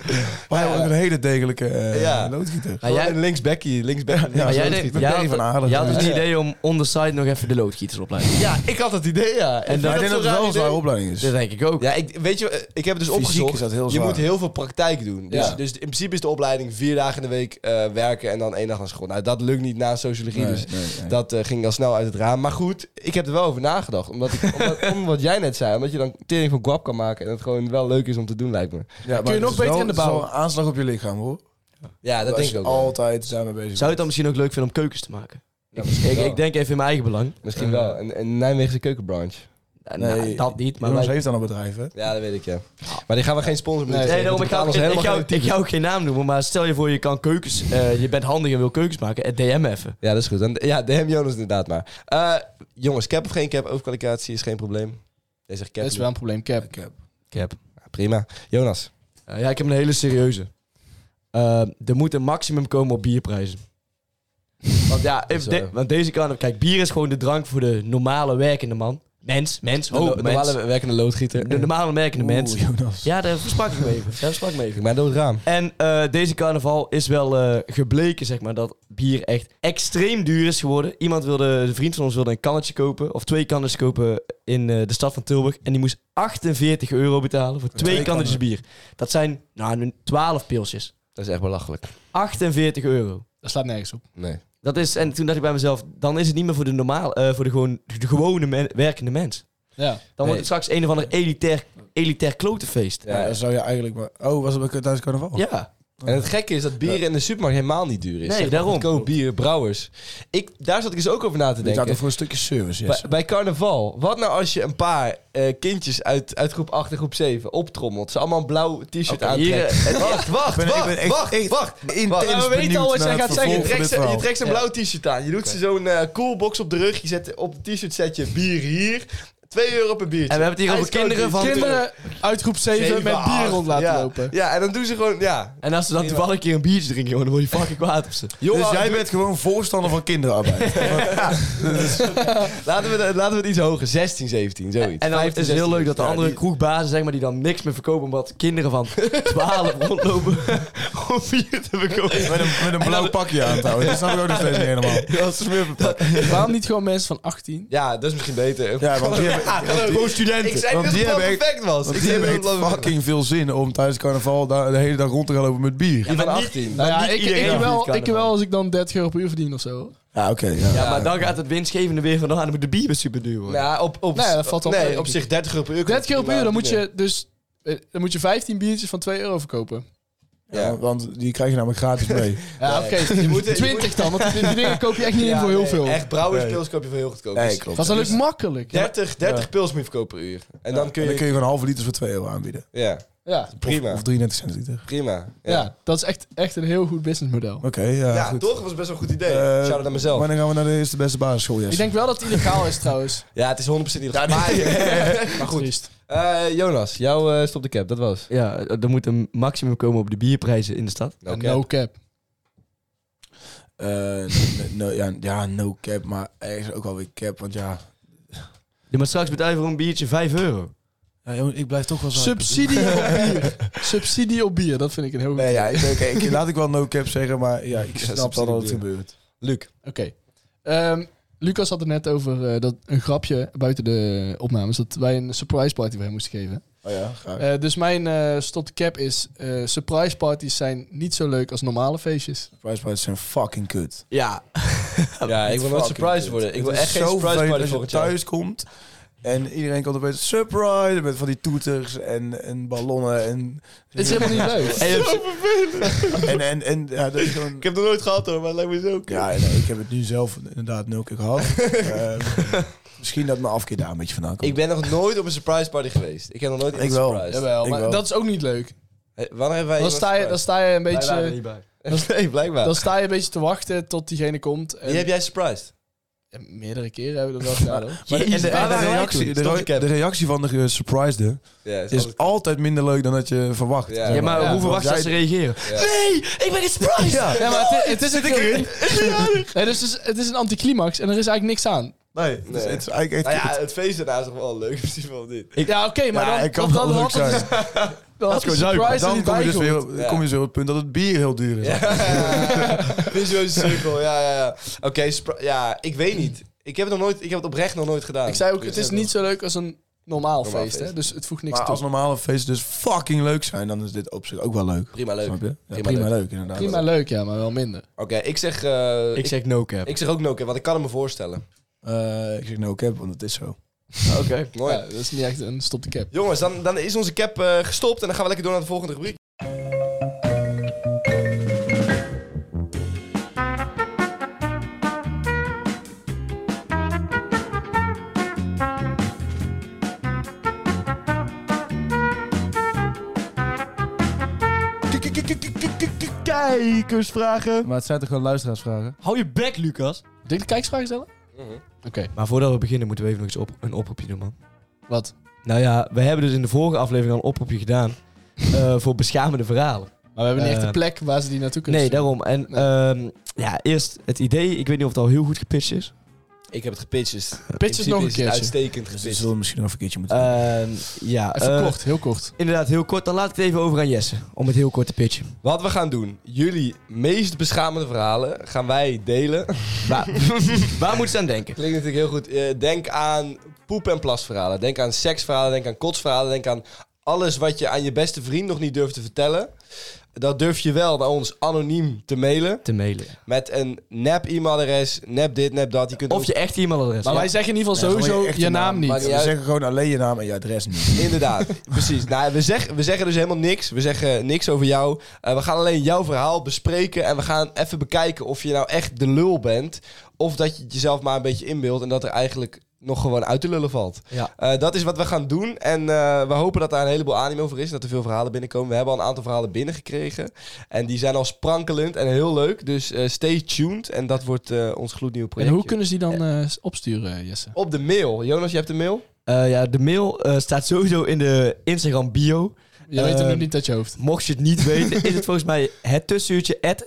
hij wordt een hele degelijke eh, Ja. loodgieter. Maar jij, Een linksbackie, linksbackie. maar Ja, jij, loodgieter. denkt- Met jij, Barry had, van Aarden. jij had dus het idee om on the side nog even de loodgieters opleiden. ja, ik had dat idee, ja. vind En dan- Maar ik dat denk dat zo'n het wel raar een zware idee. opleiding is. Dat denk ik ook. Ja, ik, weet je, eh, ik heb het dus Fysiek opgezocht. is dat heel je zwaar. moet heel veel praktijk doen. Dus, Ja. dus in principe is de opleiding vier dagen in de week eh, werken en dan één dag naar school. Nou, dat lukt niet na sociologie, Nee, dus nee, nee. dat eh, ging al snel uit het raam. Maar goed, ik heb er wel over nagedacht. Omdat, ik, omdat om wat jij net zei, omdat je dan tering van guap kan maken en het gewoon wel leuk is om te doen, lijkt me. Ja, maar nog het is beter wel- in de het is wel bouw? een aanslag op je lichaam, hoor. Ja, dat Als denk ik je ook. wel. Altijd zijn we bezig. Zou je het dan misschien ook leuk vinden om keukens te maken? Ja, Ik, wel. ik denk even in mijn eigen belang. Misschien wel. Een, een Nijmeegse keukenbranche. Nou, Nee, nou, dat niet, maar Jonas wij- heeft dan een bedrijf, hè? Ja, dat weet ik, ja. Maar die gaan we geen sponsor Nee, Nee, daarom, ik ga, ik, ik, helemaal ga, ik ga ook geen naam noemen, maar stel je voor je kan keukens, eh, je bent handig en wil keukens maken, eh, DM even. Ja, dat is goed. Dan, ja, DM Jonas inderdaad maar. Eh, jongens, cap of geen cap, overkwalificatie is geen probleem. Jij zegt cap. Dat is wel een probleem, Cap. Ik heb. Ja, prima. Jonas. Eh, ja, ik heb een hele serieuze. Eh, er moet een maximum komen op bierprijzen. Want ja, is even de- waar. want deze kan... Kijk, bier is gewoon de drank voor de normale werkende man. Mens, mens, De oh, lo- mens. normale werkende loodgieter. De normale werkende mens. Jonas. Ja, daar sprak ik me even. Daar sprak ik me even. Ik ben door het raam. En eh, deze carnaval is wel eh, gebleken, zeg maar, dat bier echt extreem duur is geworden. Iemand wilde, een vriend van ons wilde een kannetje kopen, of twee kannetjes kopen in eh, de stad van Tilburg. En die moest 48 euro betalen voor twee, twee kannetjes bier. Dat zijn, nou, nu 12 pilsjes. Dat is echt belachelijk. 48 euro. Dat slaat nergens op. Nee. Dat is, en toen dacht ik bij mezelf, dan is het niet meer voor de, normaal, eh, voor de, gewoon, de gewone men- werkende mens. Ja. Dan wordt het straks een of ander elitair, elitair klotenfeest. Ja. Ja, dan zou je eigenlijk maar... Oh, was het bij tijdens carnaval? Ja. En het gekke is dat bier in de supermarkt helemaal niet duur is. Nee, Zeg maar, daarom. Goedkoop bier, brouwers. Ik, daar zat ik eens ook over na te Ik gaat denken. er voor een stukje service, yes. Bij, bij carnaval, wat nou als je een paar eh, kindjes uit, uit groep 8 en groep 7 optrommelt? Ze allemaal een blauw t-shirt Oké, aantrekken. hier, eh, wacht, wacht, ben- ik wacht, ben echt- wacht, echt wacht. intens wacht. Ja, we weten al benieuwd wat jij naar het gaat zeggen. Je vervolg van trekt, dit ze- je verhaal. trekt een blauw t-shirt aan. Je doet ze zo'n eh, coolbox op de rug. Je zet op het t-shirt zet je bier hier. 2 euro per biertje. En we hebben het hier over Ijskoud kinderen van... biertje. Kinderen uit groep 7, met bier acht. rond laten ja. lopen. Ja, en dan doen ze gewoon... Ja. En als ze dan toevallig een keer een biertje drinken, jongen, dan word je fucking kwaad op ze. Johan, dus jij doe- bent gewoon voorstander van kinderarbeid. laten, we, de- laten we het iets hoger. 16, 17, zoiets. En dan is 15, het dus heel 16. leuk dat de Ja, andere die- kroegbazen, zeg maar, die dan niks meer verkopen, omdat kinderen van 12 rondlopen om bier te verkopen. met, een, met een blauw pakje aan trouwens. Dat snap ik ook nog steeds niet helemaal. Dat is weer Waarom niet gewoon mensen van 18? Ja, dat is misschien beter. Ja, want die hebben, Gewoon studenten. Ik zei Want niet die dat het hebben perfect was. want die Ik zei hebben dat het echt wel- fucking veel zin om tijdens carnaval daar de hele dag rond te gaan lopen met bier. Die Ja, van 18. Nou ja, niet ik, iedereen ik, doet wel, carnaval. ik wel als ik dan 30 euro per uur verdien of zo. oké. ja. Ja, maar dan gaat het winstgevende weer van, nou, dan moet de bier weer super duur worden. Ja, op, op, Nee, dat valt wel mee. nee, op zich 30 euro per uur. 30 euro per uur, dan moet je dus eh, dan moet je 15 biertjes van 2 euro verkopen. Ja, want die krijg je namelijk gratis mee. Ja, Nee. oké. Je moet- je 20 dan, want die, die dingen koop je echt niet in voor heel veel. Echt brouwerspils Nee. koop je voor heel goedkoop. Nee, Dus klopt. Was dat ook makkelijk? Ja. 30, 30 pils moet je verkopen per uur. En dan kun En dan kun je... je gewoon een halve liter voor 2 euro aanbieden. Ja, Ja. prima. Of 33 cent liter. Prima. Ja, Ja, dat is echt, echt een heel goed businessmodel. Oké, ja, Ja, goed. toch? was best wel een goed idee. Eh, Shout-out naar mezelf. Wanneer gaan we naar de eerste beste basisschool, yes. Ik denk wel dat het illegaal is trouwens. Ja, het is 100% niet Maar, Maar goed. Eh, Jonas, jouw eh, stop de cap, dat was. Ja, er moet een maximum komen op de bierprijzen in de stad. No cap. No cap. Eh, n- no, ja, ja, no cap, maar er is ook wel weer cap, want ja... Ja, maar straks betaal je voor een biertje 5 euro. ja jongen, ik blijf toch wel zuipen. Subsidie op bier. Subsidie op bier, dat vind ik een heel goed. Nee, ja, ik, oké, ik- laat ik wel no cap zeggen, maar ja, ik snap wel subsidie dat het duur. gebeurt. Luc. Oké. Ehm, Lucas had het net over eh, dat een grapje buiten de opnames dat wij een surprise party voor hem moesten geven. Oh ja, graag. Eh, dus mijn eh stop de cap is: eh, surprise parties zijn niet zo leuk als normale feestjes. Surprise parties zijn fucking kut. Ja. Ja, ik wil nooit surprised worden. Ik wil echt geen surprise party voor voor het jaar. thuis komt en iedereen komt opeens surprise met van die toeters en, en ballonnen en... Het is helemaal niet leuk. En je hebt- En, en, en ja, dat is gewoon... heb het nooit gehad hoor, maar het lijkt me zo Ja, nee, ik heb het nu zelf inderdaad nul keer gehad. Ehm, misschien dat mijn afkeer daar een beetje vandaan komt. Ik ben nog nooit op een surprise party geweest. Ik heb nog nooit iemand Ik wel. surprised. Jawel, Ik maar wel. dat is ook niet leuk. Hé, Wanneer hebben wij Dan iemand sta je, dan surprised? sta je een Wij waren er beetje, niet bij. Nee, blijkbaar. dan sta je een beetje te wachten tot diegene komt. En, Die heb jij surprised? en meerdere keren hebben we dat wel gedaan. hoor. Maar de- en de, Jezus, en de waar waren wij reactie, toen? de, Stop re- de cap. de reactie van de gesurprisede Ja, is is altijd- altijd minder leuk dan dat je verwacht. Ja. zeg Ja, maar Ja, hoe want verwacht je dat ze reageren? Nee, ik ben surprise. Ja. Ja, maar het, het is een erin. Nee, dus het, is, het is een anticlimax en er is eigenlijk niks aan. Nee, het is- Nee. het is eigenlijk Nou echt ja, het feest daarna is nog wel leuk. Misschien wel niet. ja, oké, maar Ja, dan, ik kan dan, wel dan leuk had het zijn. dus- dan had de Maar surprise er dan niet kom je, bij dus weer, gehoord. op- Ja. kom je zo op het punt dat het bier heel duur is. Visueuze cirkel, ja, ja, ja. Oké, surpri- ja, ik weet niet. Ik heb het, nog nooit, ik heb het oprecht nog nooit gedaan. Dus Ik zei ook, het is niet zo leuk als een normaal, Normaal feest, hè? feest. dus het voegt niks Maar toe. als normale feesten dus fucking leuk zijn, dan is dit op zich ook wel leuk. Prima leuk. Snap je? Ja, Prima prima, leuk. leuk. inderdaad. Prima leuk, ja, maar wel minder. Oké, ik zeg... eh, Ik ik, zeg no cap. ik zeg ook no cap, want ik kan het me voorstellen. Eh, ik zeg no cap, want het is zo. Oké. Mooi. Ja, dat is niet echt een stop de cap. Jongens, dan, dan is onze cap eh, gestopt en dan gaan we lekker door naar de volgende rubriek. Kijkersvragen. Maar het zijn toch gewoon luisteraarsvragen? Hou je bek, Lucas. Denk de kijksvraag stellen? Oké, Maar voordat we beginnen moeten we even nog eens op, een oproepje doen, man. wat? Nou ja, we hebben dus in de vorige aflevering al een oproepje gedaan eh, voor beschamende verhalen. Maar we hebben niet echt Eh, een plek waar ze die naartoe kunnen Nee, sturen. daarom. En ehm, ja, eerst het idee. Ik weet niet of het al heel goed gepitcht is. Ik heb het gepitcht, dus in Pitch het principe nog is een het keertje. uitstekend Dus we gepitcht. zullen misschien nog een keertje moeten doen. Ehm, ja, Even eh, kort, heel kort. Inderdaad, heel kort. Dan laat ik het even over aan Jesse. Om het heel kort te pitchen. Wat we gaan doen, jullie meest beschamende verhalen gaan wij delen. Waar, waar moet ze aan denken? Klinkt natuurlijk heel goed. Eh, denk aan poep- en plasverhalen. Denk aan seksverhalen. Denk aan kotsverhalen. Denk aan alles wat je aan je beste vriend nog niet durft te vertellen, dat durf je wel naar ons anoniem te mailen. te mailen. Met een nep e-mailadres, nep dit, nep dat. Je kunt Of ons- je echt e-mailadres. Maar Ja. wij zeggen in ieder geval Ja, gewoon sowieso echte je naam Maar niet. we zeggen gewoon alleen je naam en je adres niet. Inderdaad, precies. Nou, we, zeg, we zeggen dus helemaal niks. We zeggen niks over jou. Eh, we gaan alleen jouw verhaal bespreken en we gaan even bekijken of je nou echt de lul bent. Of dat je het jezelf maar een beetje inbeeldt en dat er eigenlijk nog gewoon uit de lullen valt. Ja. Eh, dat is wat we gaan doen. En eh, we hopen dat daar een heleboel animo voor is. Dat er veel verhalen binnenkomen. We hebben al een aantal verhalen binnengekregen. En die zijn al sprankelend en heel leuk. Dus eh, stay tuned. En dat wordt eh, ons gloednieuw En project. hoe kunnen ze die dan eh, opsturen, Jesse? Op de mail. Jonas, je hebt de mail? Eh, ja, de mail eh, staat sowieso in de Instagram bio. Je weet het Eh, nu niet uit je hoofd. Mocht je het niet weten, is het volgens mij het tussenuurtje at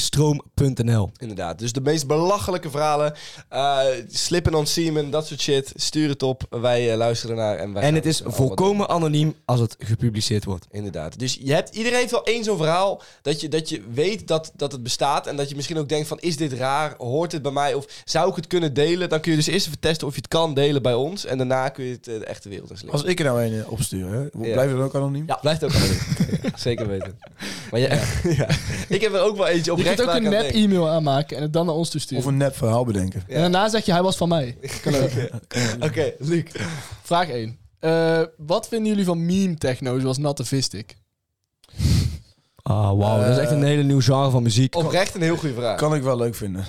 de-stroom.nl. Inderdaad. Dus de meest belachelijke verhalen. eh slippen on semen, dat soort shit. Stuur het op. Wij eh, luisteren naar. En, wij En gaan het is met z'n allen Oh, wat doen. volkomen anoniem als het gepubliceerd wordt. Inderdaad. Dus je hebt, iedereen heeft wel één zo'n verhaal. Dat je, dat je weet dat, dat het bestaat. En dat je misschien ook denkt van... Is dit raar? Hoort het bij mij? Of zou ik het kunnen delen? Dan kun je dus eerst even testen of je het kan delen bij ons. En daarna kun je het eh, de echte wereld inslingen. Als ik er nou een eh, opstuur, hè, Ja. blijven we dan ook anoniem? Ja, blijft ook anoniem. Zeker weten. Maar ja, ja. ik heb er ook wel eentje Je oprecht kunt ook waar ik een aan nep denk. e-mail aanmaken en het dan naar ons toesturen. Of een nep verhaal bedenken. Ja. En daarna zeg je, hij was van mij. Oké, Luc. Vraag 1. wat vinden jullie van meme-techno zoals Nativistic? Ah, wauw. dat is echt Eh, een hele nieuw genre van muziek. Oprecht een heel goede vraag. Kan, Kan ik wel leuk vinden. ik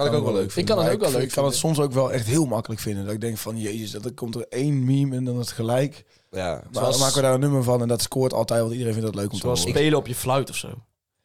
ook wel leuk vinden. Ik kan het maar ook wel leuk Ik kan het vinden. soms ook wel echt heel makkelijk vinden. Dat ik denk van, jezus, dat er komt er één meme en dan is het gelijk. Ja, Maar dan maken we daar een nummer van en dat scoort altijd, want iedereen vindt dat leuk om te Zoals horen. spelen op je fluit of zo.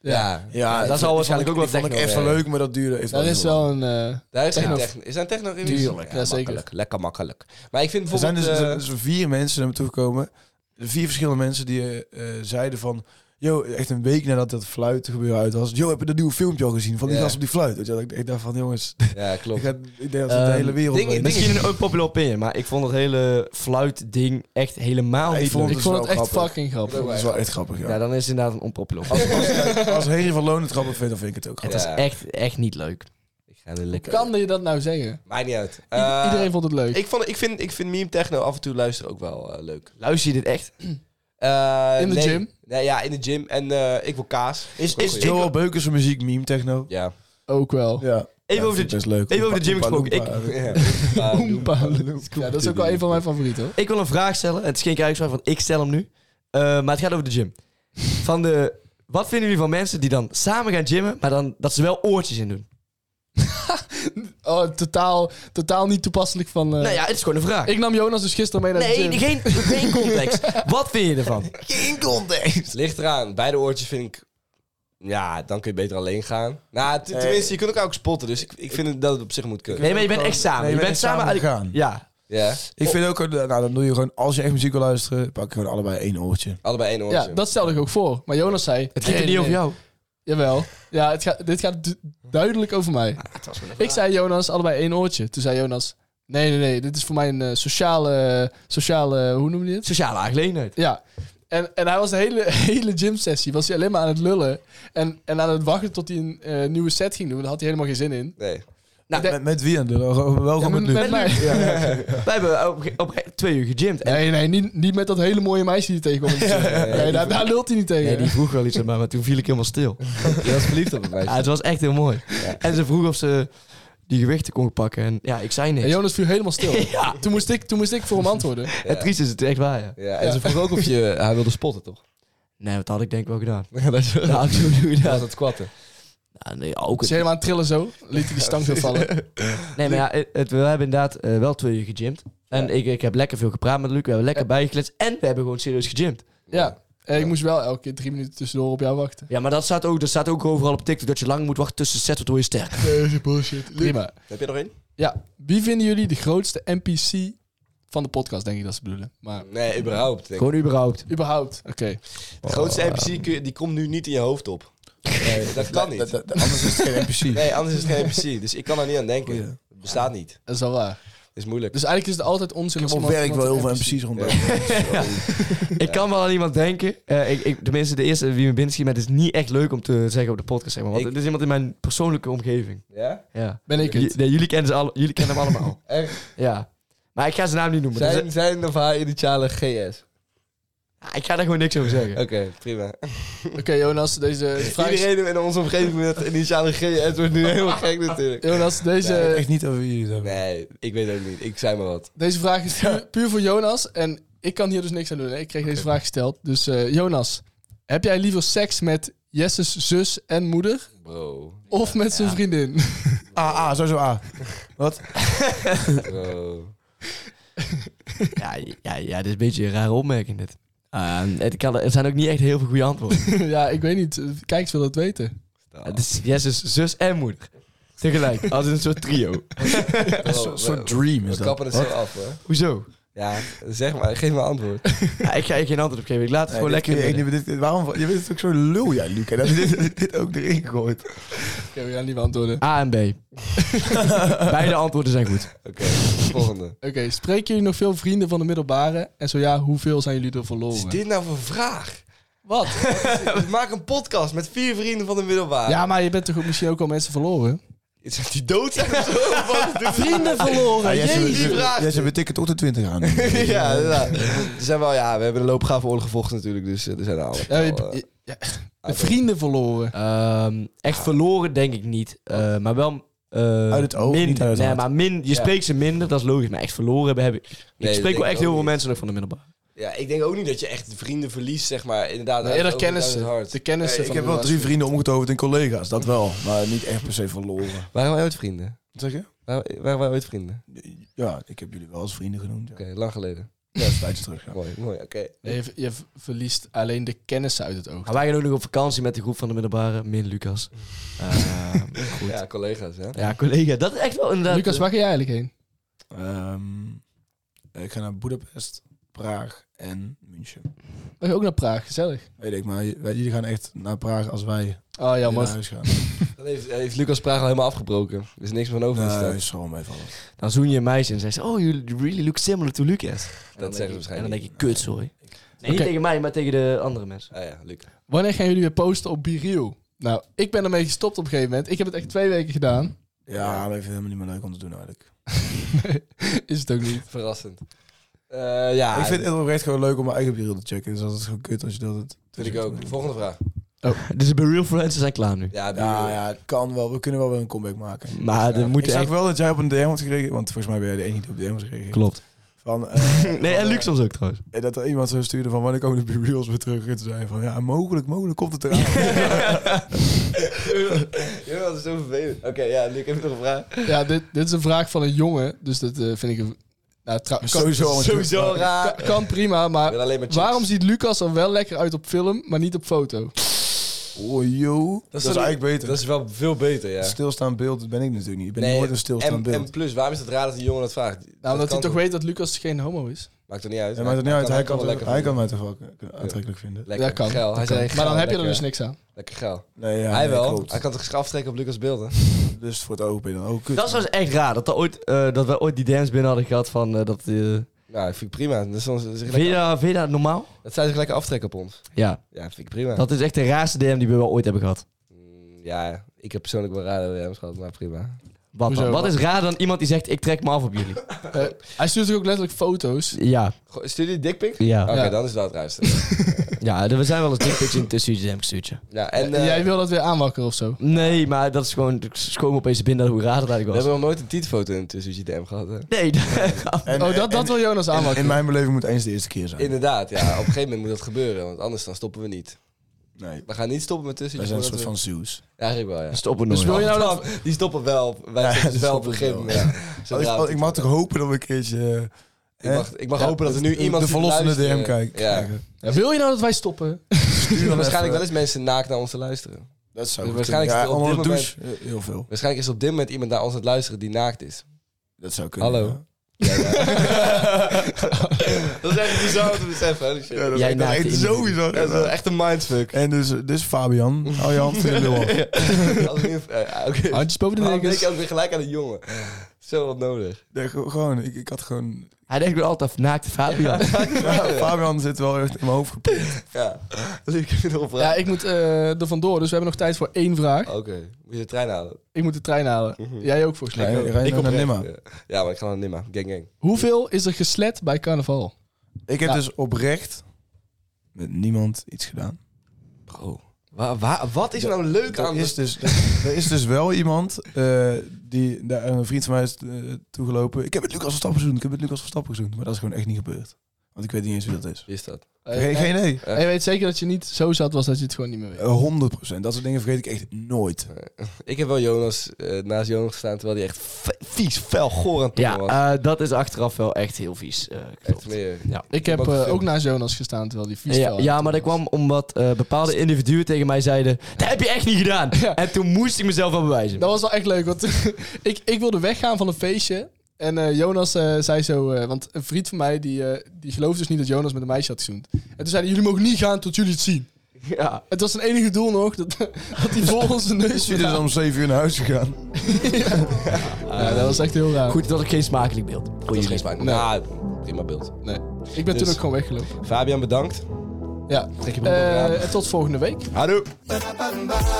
ja. Ja, dat ik- zal ik- waarschijnlijk ook wel ik vond het techno echt wel zijn. leuk, maar dat duurde even Dat is wel een... eh, Daar is Techno. geen techno. Is daar techno in? Tuurlijk, ja, zeker. Makkelijk, lekker makkelijk. Maar ik vind Er zijn bijvoorbeeld... dus, eh, er zijn vier mensen naar me toegekomen. Vier verschillende mensen die eh, eh, zeiden van... Yo, echt een week nadat dat fluitgebeuren uit was. Yo, heb je dat nieuwe filmpje al gezien van die Ja. gast op die fluit? Weet je, wel, ik, ik dacht van, jongens, ja, klopt. ik, ga, ik denk dat het de Ehm, hele wereld... dingen- weet. dingen- Misschien een unpopular opinion, maar ik vond het hele fluitding echt helemaal Ja, ik niet vond leuk. ik is vond wel het echt grappig. fucking grappig. Dat is wel echt grappig, ja. Ja, dan is het inderdaad een unpopular opinion. Als, als, als Henry van Loon het grappig vindt, dan vind ik het ook Het grappig. is Ja. echt, echt niet leuk. Ik ga er lekker... Kan je dat nou zeggen? Maakt niet uit. I- Eh, Iedereen vond het leuk. ik, vond, ik, vind, ik vind meme techno af en toe luisteren ook wel eh, leuk. Luister je dit echt? Eh, In de nee. gym? Nee, ja, in de gym. En eh, ik wil kaas. Is, Is- is, ik- Joel Beukers muziek, meme, techno. Ja. Ook wel. Ja, even over vind de ik best leuk. even over de gym Oompa gesproken. Loompa. Ja. Oompa Loompa. Ja, dat is ook wel een van mijn favorieten. hoor. Ik wil een vraag stellen. en Het is geen krijgsvraag, want ik stel hem nu. Eh, maar het gaat over de gym. Van de, wat vinden jullie van mensen die dan samen gaan gymmen, maar dan dat ze wel oortjes in doen? Oh, totaal, totaal niet toepasselijk van... eh, nou ja, het is gewoon een vraag. Ik nam Jonas dus gisteren mee naar de nee, gym. geen, geen context. wat vind je ervan? Ligt eraan. Beide oortjes vind ik... Ja, dan kun je beter alleen gaan. Nou, t- tenminste, je kunt elkaar ook spotten. Dus ik, ik vind het- dat het op zich moet kunnen. Nee, maar je bent echt samen. Nee, je bent samen, aan aan het gaan. Ja. Ja, Ik vind ook, eh, nou dan doe je gewoon, als je echt muziek wil luisteren, pak je gewoon allebei één oortje. allebei één oortje. Ja, dat stelde ik ook voor. Maar Jonas zei... Het ging nee, er niet nee, over jou. Jawel. Ja, het gaat, dit gaat du- duidelijk over mij. ik zei Jonas, allebei één oortje. Toen zei Jonas, nee, nee, nee, dit is voor mij een eh, sociale, sociale, hoe noem je dit? Sociale aangelegenheid. Ja. En, en hij was de hele, hele gymsessie, was hij alleen maar aan het lullen. En, en aan het wachten tot hij een eh, nieuwe set ging doen. Daar had hij helemaal geen zin in. Nee. Nou, Met, met wie aan de Wel gewoon Ja, met met, Luc. met mij. wij hebben op, op, twee uur gegymd. En Nee, nee, niet, niet met dat hele mooie meisje die tegenkomt. Nee, daar, daar lult hij niet tegen. Nee, die vroeg wel iets aan mij, maar toen viel ik helemaal stil. Je was verliefd op het meisje. Ja, het was echt heel mooi. En ze vroeg of ze die gewichten kon pakken. En ja, ik zei niks. En Jonas viel helemaal stil. Ja. Toen, moest ik, toen moest ik voor hem antwoorden. Het triest is het echt waar, ja. Ja, en ze vroeg ook of je... Hij wilde spotten, toch? Nee, dat had ik denk ik wel gedaan. dat is Ja, dat toen doe je was dat. het squatten. Ja, nee, ook Dus het- helemaal aan het trillen zo. Liet hij die stang weer vallen. nee, maar ja, het, het- we hebben inderdaad eh, wel twee uur gegymd. En ik, ik heb lekker veel gepraat met Luc. We hebben lekker bijgekletst. En we hebben gewoon serieus gegymd. Ja. En ik moest wel elke keer drie minuten tussendoor op jou wachten. Ja, maar dat staat ook, dat staat ook overal op TikTok. Dat je lang moet wachten tussen sets, want dan word je sterk. bullshit. Prima. Heb je er nog één? Ja. Wie vinden jullie de grootste NPC van de podcast, denk ik dat ze bedoelen? Maar Nee, überhaupt. denk ik. Gewoon überhaupt. überhaupt. Oké. De grootste NPC kun je- die komt nu niet in je hoofd op. dat kan niet. Dat- dat- dat- Anders is het geen NPC. Nee, anders is het geen NPC. Dus ik kan er niet aan denken. Goeie. Het bestaat niet. Dat is wel waar. Het is moeilijk. Dus eigenlijk is het altijd onzin. Ik heb als op iemand- werk wel iemand heel veel een NPC NPC's rondlopen. Ik kan wel aan iemand denken. Eh, ik, ik, tenminste, de eerste wie me binnen schiet, maar het is niet echt leuk om te zeggen op de podcast. Zeg maar, want Ik- het is iemand in mijn persoonlijke omgeving. Ja? Ja. Ben ik het. J- nee, jullie, kennen ze alle, jullie kennen hem allemaal. Echt? Ja. Maar ik ga zijn naam niet noemen. Dus, Zijn, zijn of haar initialen GS? Ah, Ik ga daar gewoon niks over zeggen. Oké, prima. Oké, Jonas, deze vraag is- Iedereen in onze omgeving met het initiale G. Het wordt nu helemaal gek natuurlijk. Jonas, deze, Nee, echt niet over jullie het hebben. Nee, ik weet ook niet. Ik zei maar wat. deze vraag is puur, puur voor Jonas. En ik kan hier dus niks aan doen. hè. Ik kreeg deze vraag gesteld. Dus eh, Jonas, heb jij liever seks met Jesse's zus en moeder? Bro, Of met zijn vriendin? A, A, Ah, sowieso A. bro. Ja, ja, ja, dit is een beetje een rare opmerking dit. Ah, het kan, er zijn ook niet echt heel veel goede antwoorden. ja, ik weet niet. Kijkers willen het weten. Oh. Het is Jesse's zus en moeder. Tegelijk, als een soort trio. Een soort- soort dream We is dat. kappen het zo af, hoor. Hoezo? Ja, zeg maar. Geef me een antwoord. Ja, ik ga je geen antwoord op geven. Ik laat Nee, het gewoon dit kun lekker. je echt binnen. niet meer- dit- waarom, je bent het ook zo'n lul, jij, Luc. hè, Dat je dit, dit ook erin gooit. Oké, we gaan niet meer antwoorden. A en B. Beide antwoorden zijn goed. Oké, volgende. Oké, spreken jullie nog veel vrienden van de middelbare? En zo ja, hoeveel zijn jullie er Wat is verloren? dit nou voor vraag? Wat? We maken een podcast met vier vrienden van de middelbare. Ja, maar je bent toch ook misschien ook al mensen verloren? Zijn die dood zijn of zo? Of wat? Doe- Vrienden Ah, verloren, Jij jezus. Die vraag. Jesse betekent ook de 20 aan. ja, ja. Ze zijn wel, ja, we hebben een loopgave oorlog gevochten natuurlijk, dus eh, er zijn al. Ja, je- je- eh, ja, vrienden verloren. Ehm, echt verloren denk ik niet. Eh, maar wel... eh, Uit het oog, min, niet uit het nee, hart. maar min, je spreekt ze minder, dat is logisch. Maar echt verloren hebben heb ik... Ik dat denk spreek wel ik echt ook heel veel niet. mensen nog van de middelbare. ja, ik denk ook niet dat je echt vrienden verliest, zeg maar. Inderdaad, Nee, dat kennen ze. De kennen ze Nee, van Ik heb de wel was. drie vrienden omgetoverd in collega's, dat wel. Maar niet echt per se verloren. Waren wij ooit vrienden? Wat zeg je? Waren, waren wij ooit vrienden? Ja, ik heb jullie wel als vrienden genoemd. Ja, Oké, lang geleden. ja dat is een tijdje terug. Ja. Mooi, mooi, oké. Nee, je, je v- verliest alleen de kennissen uit het oog. Maar wij gaan ook nog op vakantie met de groep van de middelbare. Min Lucas. Ehm, goed. Ja, collega's, hè? Ja, collega, dat is echt wel inderdaad... eh, Lucas, waar ga jij eigenlijk heen? Ehm, ik ga naar Boedapest, Praag en München. Wij gaan ook naar Praag, gezellig. Weet ik, maar j- wij- jullie gaan echt naar Praag als wij Oh, naar jammer. huis gaan. Dat heeft, heeft Lucas Praag al helemaal afgebroken. Er is niks meer van over dus in de Nee, stad. is gewoon meevallen. Dan zoen je een meisje en zegt ze, oh, you really look similar to Lucas. En dan zeggen ze denk ik- waarschijnlijk En dan denk niet. ik, kut, sorry. Nee, niet Oké. tegen mij, maar tegen de andere mensen. Ah ja, Lucas. Wanneer gaan jullie weer posten op Biriel? Nou, ik ben ermee gestopt op een gegeven moment. Ik heb het echt twee weken gedaan. Ja, maar ik vind het helemaal niet meer leuk om te doen eigenlijk. Is het ook niet. Verrassend. Eh, ja, ik vind het oprecht gewoon leuk om mijn eigen bureau te checken. Dus dat is gewoon kut als je dat... het- vind ik ook. Volgende vraag. Dus de Real Friends zijn klaar nu. Ja, doe Ja, je. ja, het kan wel. We kunnen wel weer een comeback maken. Maar er Ik moet zag echt... wel dat jij op een DM had gekregen, want volgens mij ben jij de enige die op DM had gekregen. Klopt. Van, eh, Nee, en Luc soms ook trouwens. En dat er iemand zo stuurde van wanneer komen de B-reels weer terug? En toen zei hij van ja, mogelijk, mogelijk komt het eraan. Ja, dat is zo vervelend. Oké, ja, Luc, heb je nog een vraag? Ja, dit, dit is een vraag van een jongen. Dus dat eh, vind ik... Een, nou, trouw- kan, Sowieso. want- Sowieso raar. kan- kan prima, Ik maar... wil alleen maar chicks. Waarom ziet Lucas er wel lekker uit op film, maar niet op foto? Nou, Oh joh, dat, is dan- eigenlijk beter. Dat is wel veel beter, ja. Stilstaand beeld, dat ben ik natuurlijk niet. Ik ben Nee, nooit een stilstaand en, beeld. en plus, waarom is het raar dat die jongen dat vraagt? Nou, omdat dat hij kan toch weet dat Lucas geen homo is. Maakt er niet uit. En maakt het niet uit, hij kan, wel het- lekker hij kan vinden. mij toch wel aantrekkelijk vinden. Lekker Ja, kan. geil. Hij zei, maar geil, dan heb je er lekker- dus niks aan. Lekker geil. Nee, ja, hij nee, wel. klopt. Hij kan toch aftrekken op Lucas' beelden? Dus voor het oog ben je dan ook kut. Dat was echt raar, dat, er ooit, eh, dat wij ooit die DM's binnen hadden gehad van... eh, dat, eh Nou, dat vind ik prima. Dat, is ons- dat is vind, lekker- je dat, vind je dat normaal? dat zij zich lekker aftrekken op ons. Ja, Ja, vind ik prima. dat is echt de raarste DM die we wel ooit hebben gehad. Mm, Ja, ik heb persoonlijk wel rare DM's gehad, maar prima. Wat, dan? Hoezo? wat is raar dan iemand die zegt, ik trek me af op jullie? Eh, hij stuurt ook letterlijk foto's. Ja, Goh, Studie dikpik? ja. Oké, Ja. dan is dat het ruimste. Ja, er- we zijn wel eens dickpics in tussen jullie DM's gestuurd, ja. ja, en, En eh, jij wil dat weer aanwakkeren of zo? Nee, maar dat is gewoon... Ik schoon me opeens binnen hoe raar dat We eigenlijk was. hebben nog nooit een titelfoto in tussen GTM gehad, hè? Nee, En- oh, dat, dat en- wil Jonas en- aanwakkeren. in mijn beleving moet eens de eerste keer zijn. Inderdaad, ja. Op een gegeven moment moet dat gebeuren, want anders dan stoppen we niet. nee, We gaan niet stoppen met tussen wij zijn een soort van Zeus. Ja, eigenlijk wel, ja. stoppen Dus wil je nou dat... Oh, Die stoppen wel. Wij Ja, stoppen die wel op stoppen een gegeven moment. wel. Zodra ik, we- ik mag toch hopen dat we een keertje... ik mag, ik mag Ja, hopen dat er nu de- iemand De zit te verlossende luisteren. DM kijkt. Ja. krijgen. Ja, wil je nou dat wij stoppen? Er dan zullen waarschijnlijk even- wel eens mensen naakt naar ons te luisteren. Dat zou goed Dus waarschijnlijk kunnen. zit er op ja, onder dit de douche eh, heel veel. Waarschijnlijk is op dit moment iemand naar ons aan het luisteren die naakt is. Dat zou kunnen. Hallo. ja. dat is echt bizar om te beseffen. holy shit. Ja, dat, Jij dat naakt echt individu. sowieso. Dat is wel echt een mindfuck. En dus, dus Fabian, hou je hand in de lul. af. Als ik niet- eh, oké. Handjes boven de Oh, Waarom denk dekens. ik ook weer gelijk aan de jongen? Zo wat nodig. Nee, ge- gewoon, ik, ik had gewoon... Hij denkt weer altijd naakte Fabian. Fabian zit wel echt in mijn hoofd geprikt. Ja. Dus Luc, heb je nog een vraag? Ja, ik moet eh, er vandoor, dus we hebben nog tijd voor één vraag. Oké, moet je de trein halen? Ik moet de trein halen. Mhm. Jij ook volgens Ga mij. je- ga je nou naar oprecht, Nimma? ja. Ja, maar ik ga naar Nimma. Gang, gang. Hoeveel is er geslet bij carnaval? Ik heb Ja. dus oprecht met niemand iets gedaan. Bro, wa- wa- wat is er nou leuk aan Er is dit? dus, er is dus wel iemand, eh, die, daar, een vriend van mij is eh, toegelopen. Ik heb het Lucas Verstappen gezoend, ik heb het Lucas Verstappen gezoend. Maar dat is gewoon echt niet gebeurd. Want ik weet niet eens wie dat is. Wie is dat? Geen, geen idee. En Eh, je weet zeker dat je niet zo zat was dat je het gewoon niet meer weet. Eh, 100%. Dat soort dingen vergeet ik echt nooit. Ik heb wel Jonas eh, naast Jonas gestaan terwijl hij echt v- vies, fel, goor aan het Ja, tobben was. eh, dat is achteraf wel echt heel vies. eh, echt klopt. meer. Ja. Ik heb heb ook eh, gefilmd. ook naast Jonas gestaan terwijl die vies Ja, fel ja, had. maar dat kwam omdat eh, bepaalde individuen tegen mij zeiden... Dat heb je echt niet gedaan. Ja. En toen moest ik mezelf wel bewijzen. Dat was wel echt leuk, want ik, ik wilde weggaan van een feestje. En eh, Jonas eh, zei zo, eh, want een vriend van mij die, eh, die geloofde dus niet dat Jonas met een meisje had gezoend. En toen zeiden jullie mogen niet gaan tot jullie het zien. Ja. Het was zijn enige doel nog, dat, dat hij vol onze neus Is hij dus gedaan. om 7 uur naar huis gegaan? Ja, dat was echt heel raar. Goed, dat ik geen smakelijk beeld. Dat is geen spijt. Nee. Nou, prima beeld. Nee. Ik ben Dus- toen ook gewoon weggelopen. Fabian, bedankt. Ja. Trek je broek Eh, aan. en tot volgende week. Houdoe.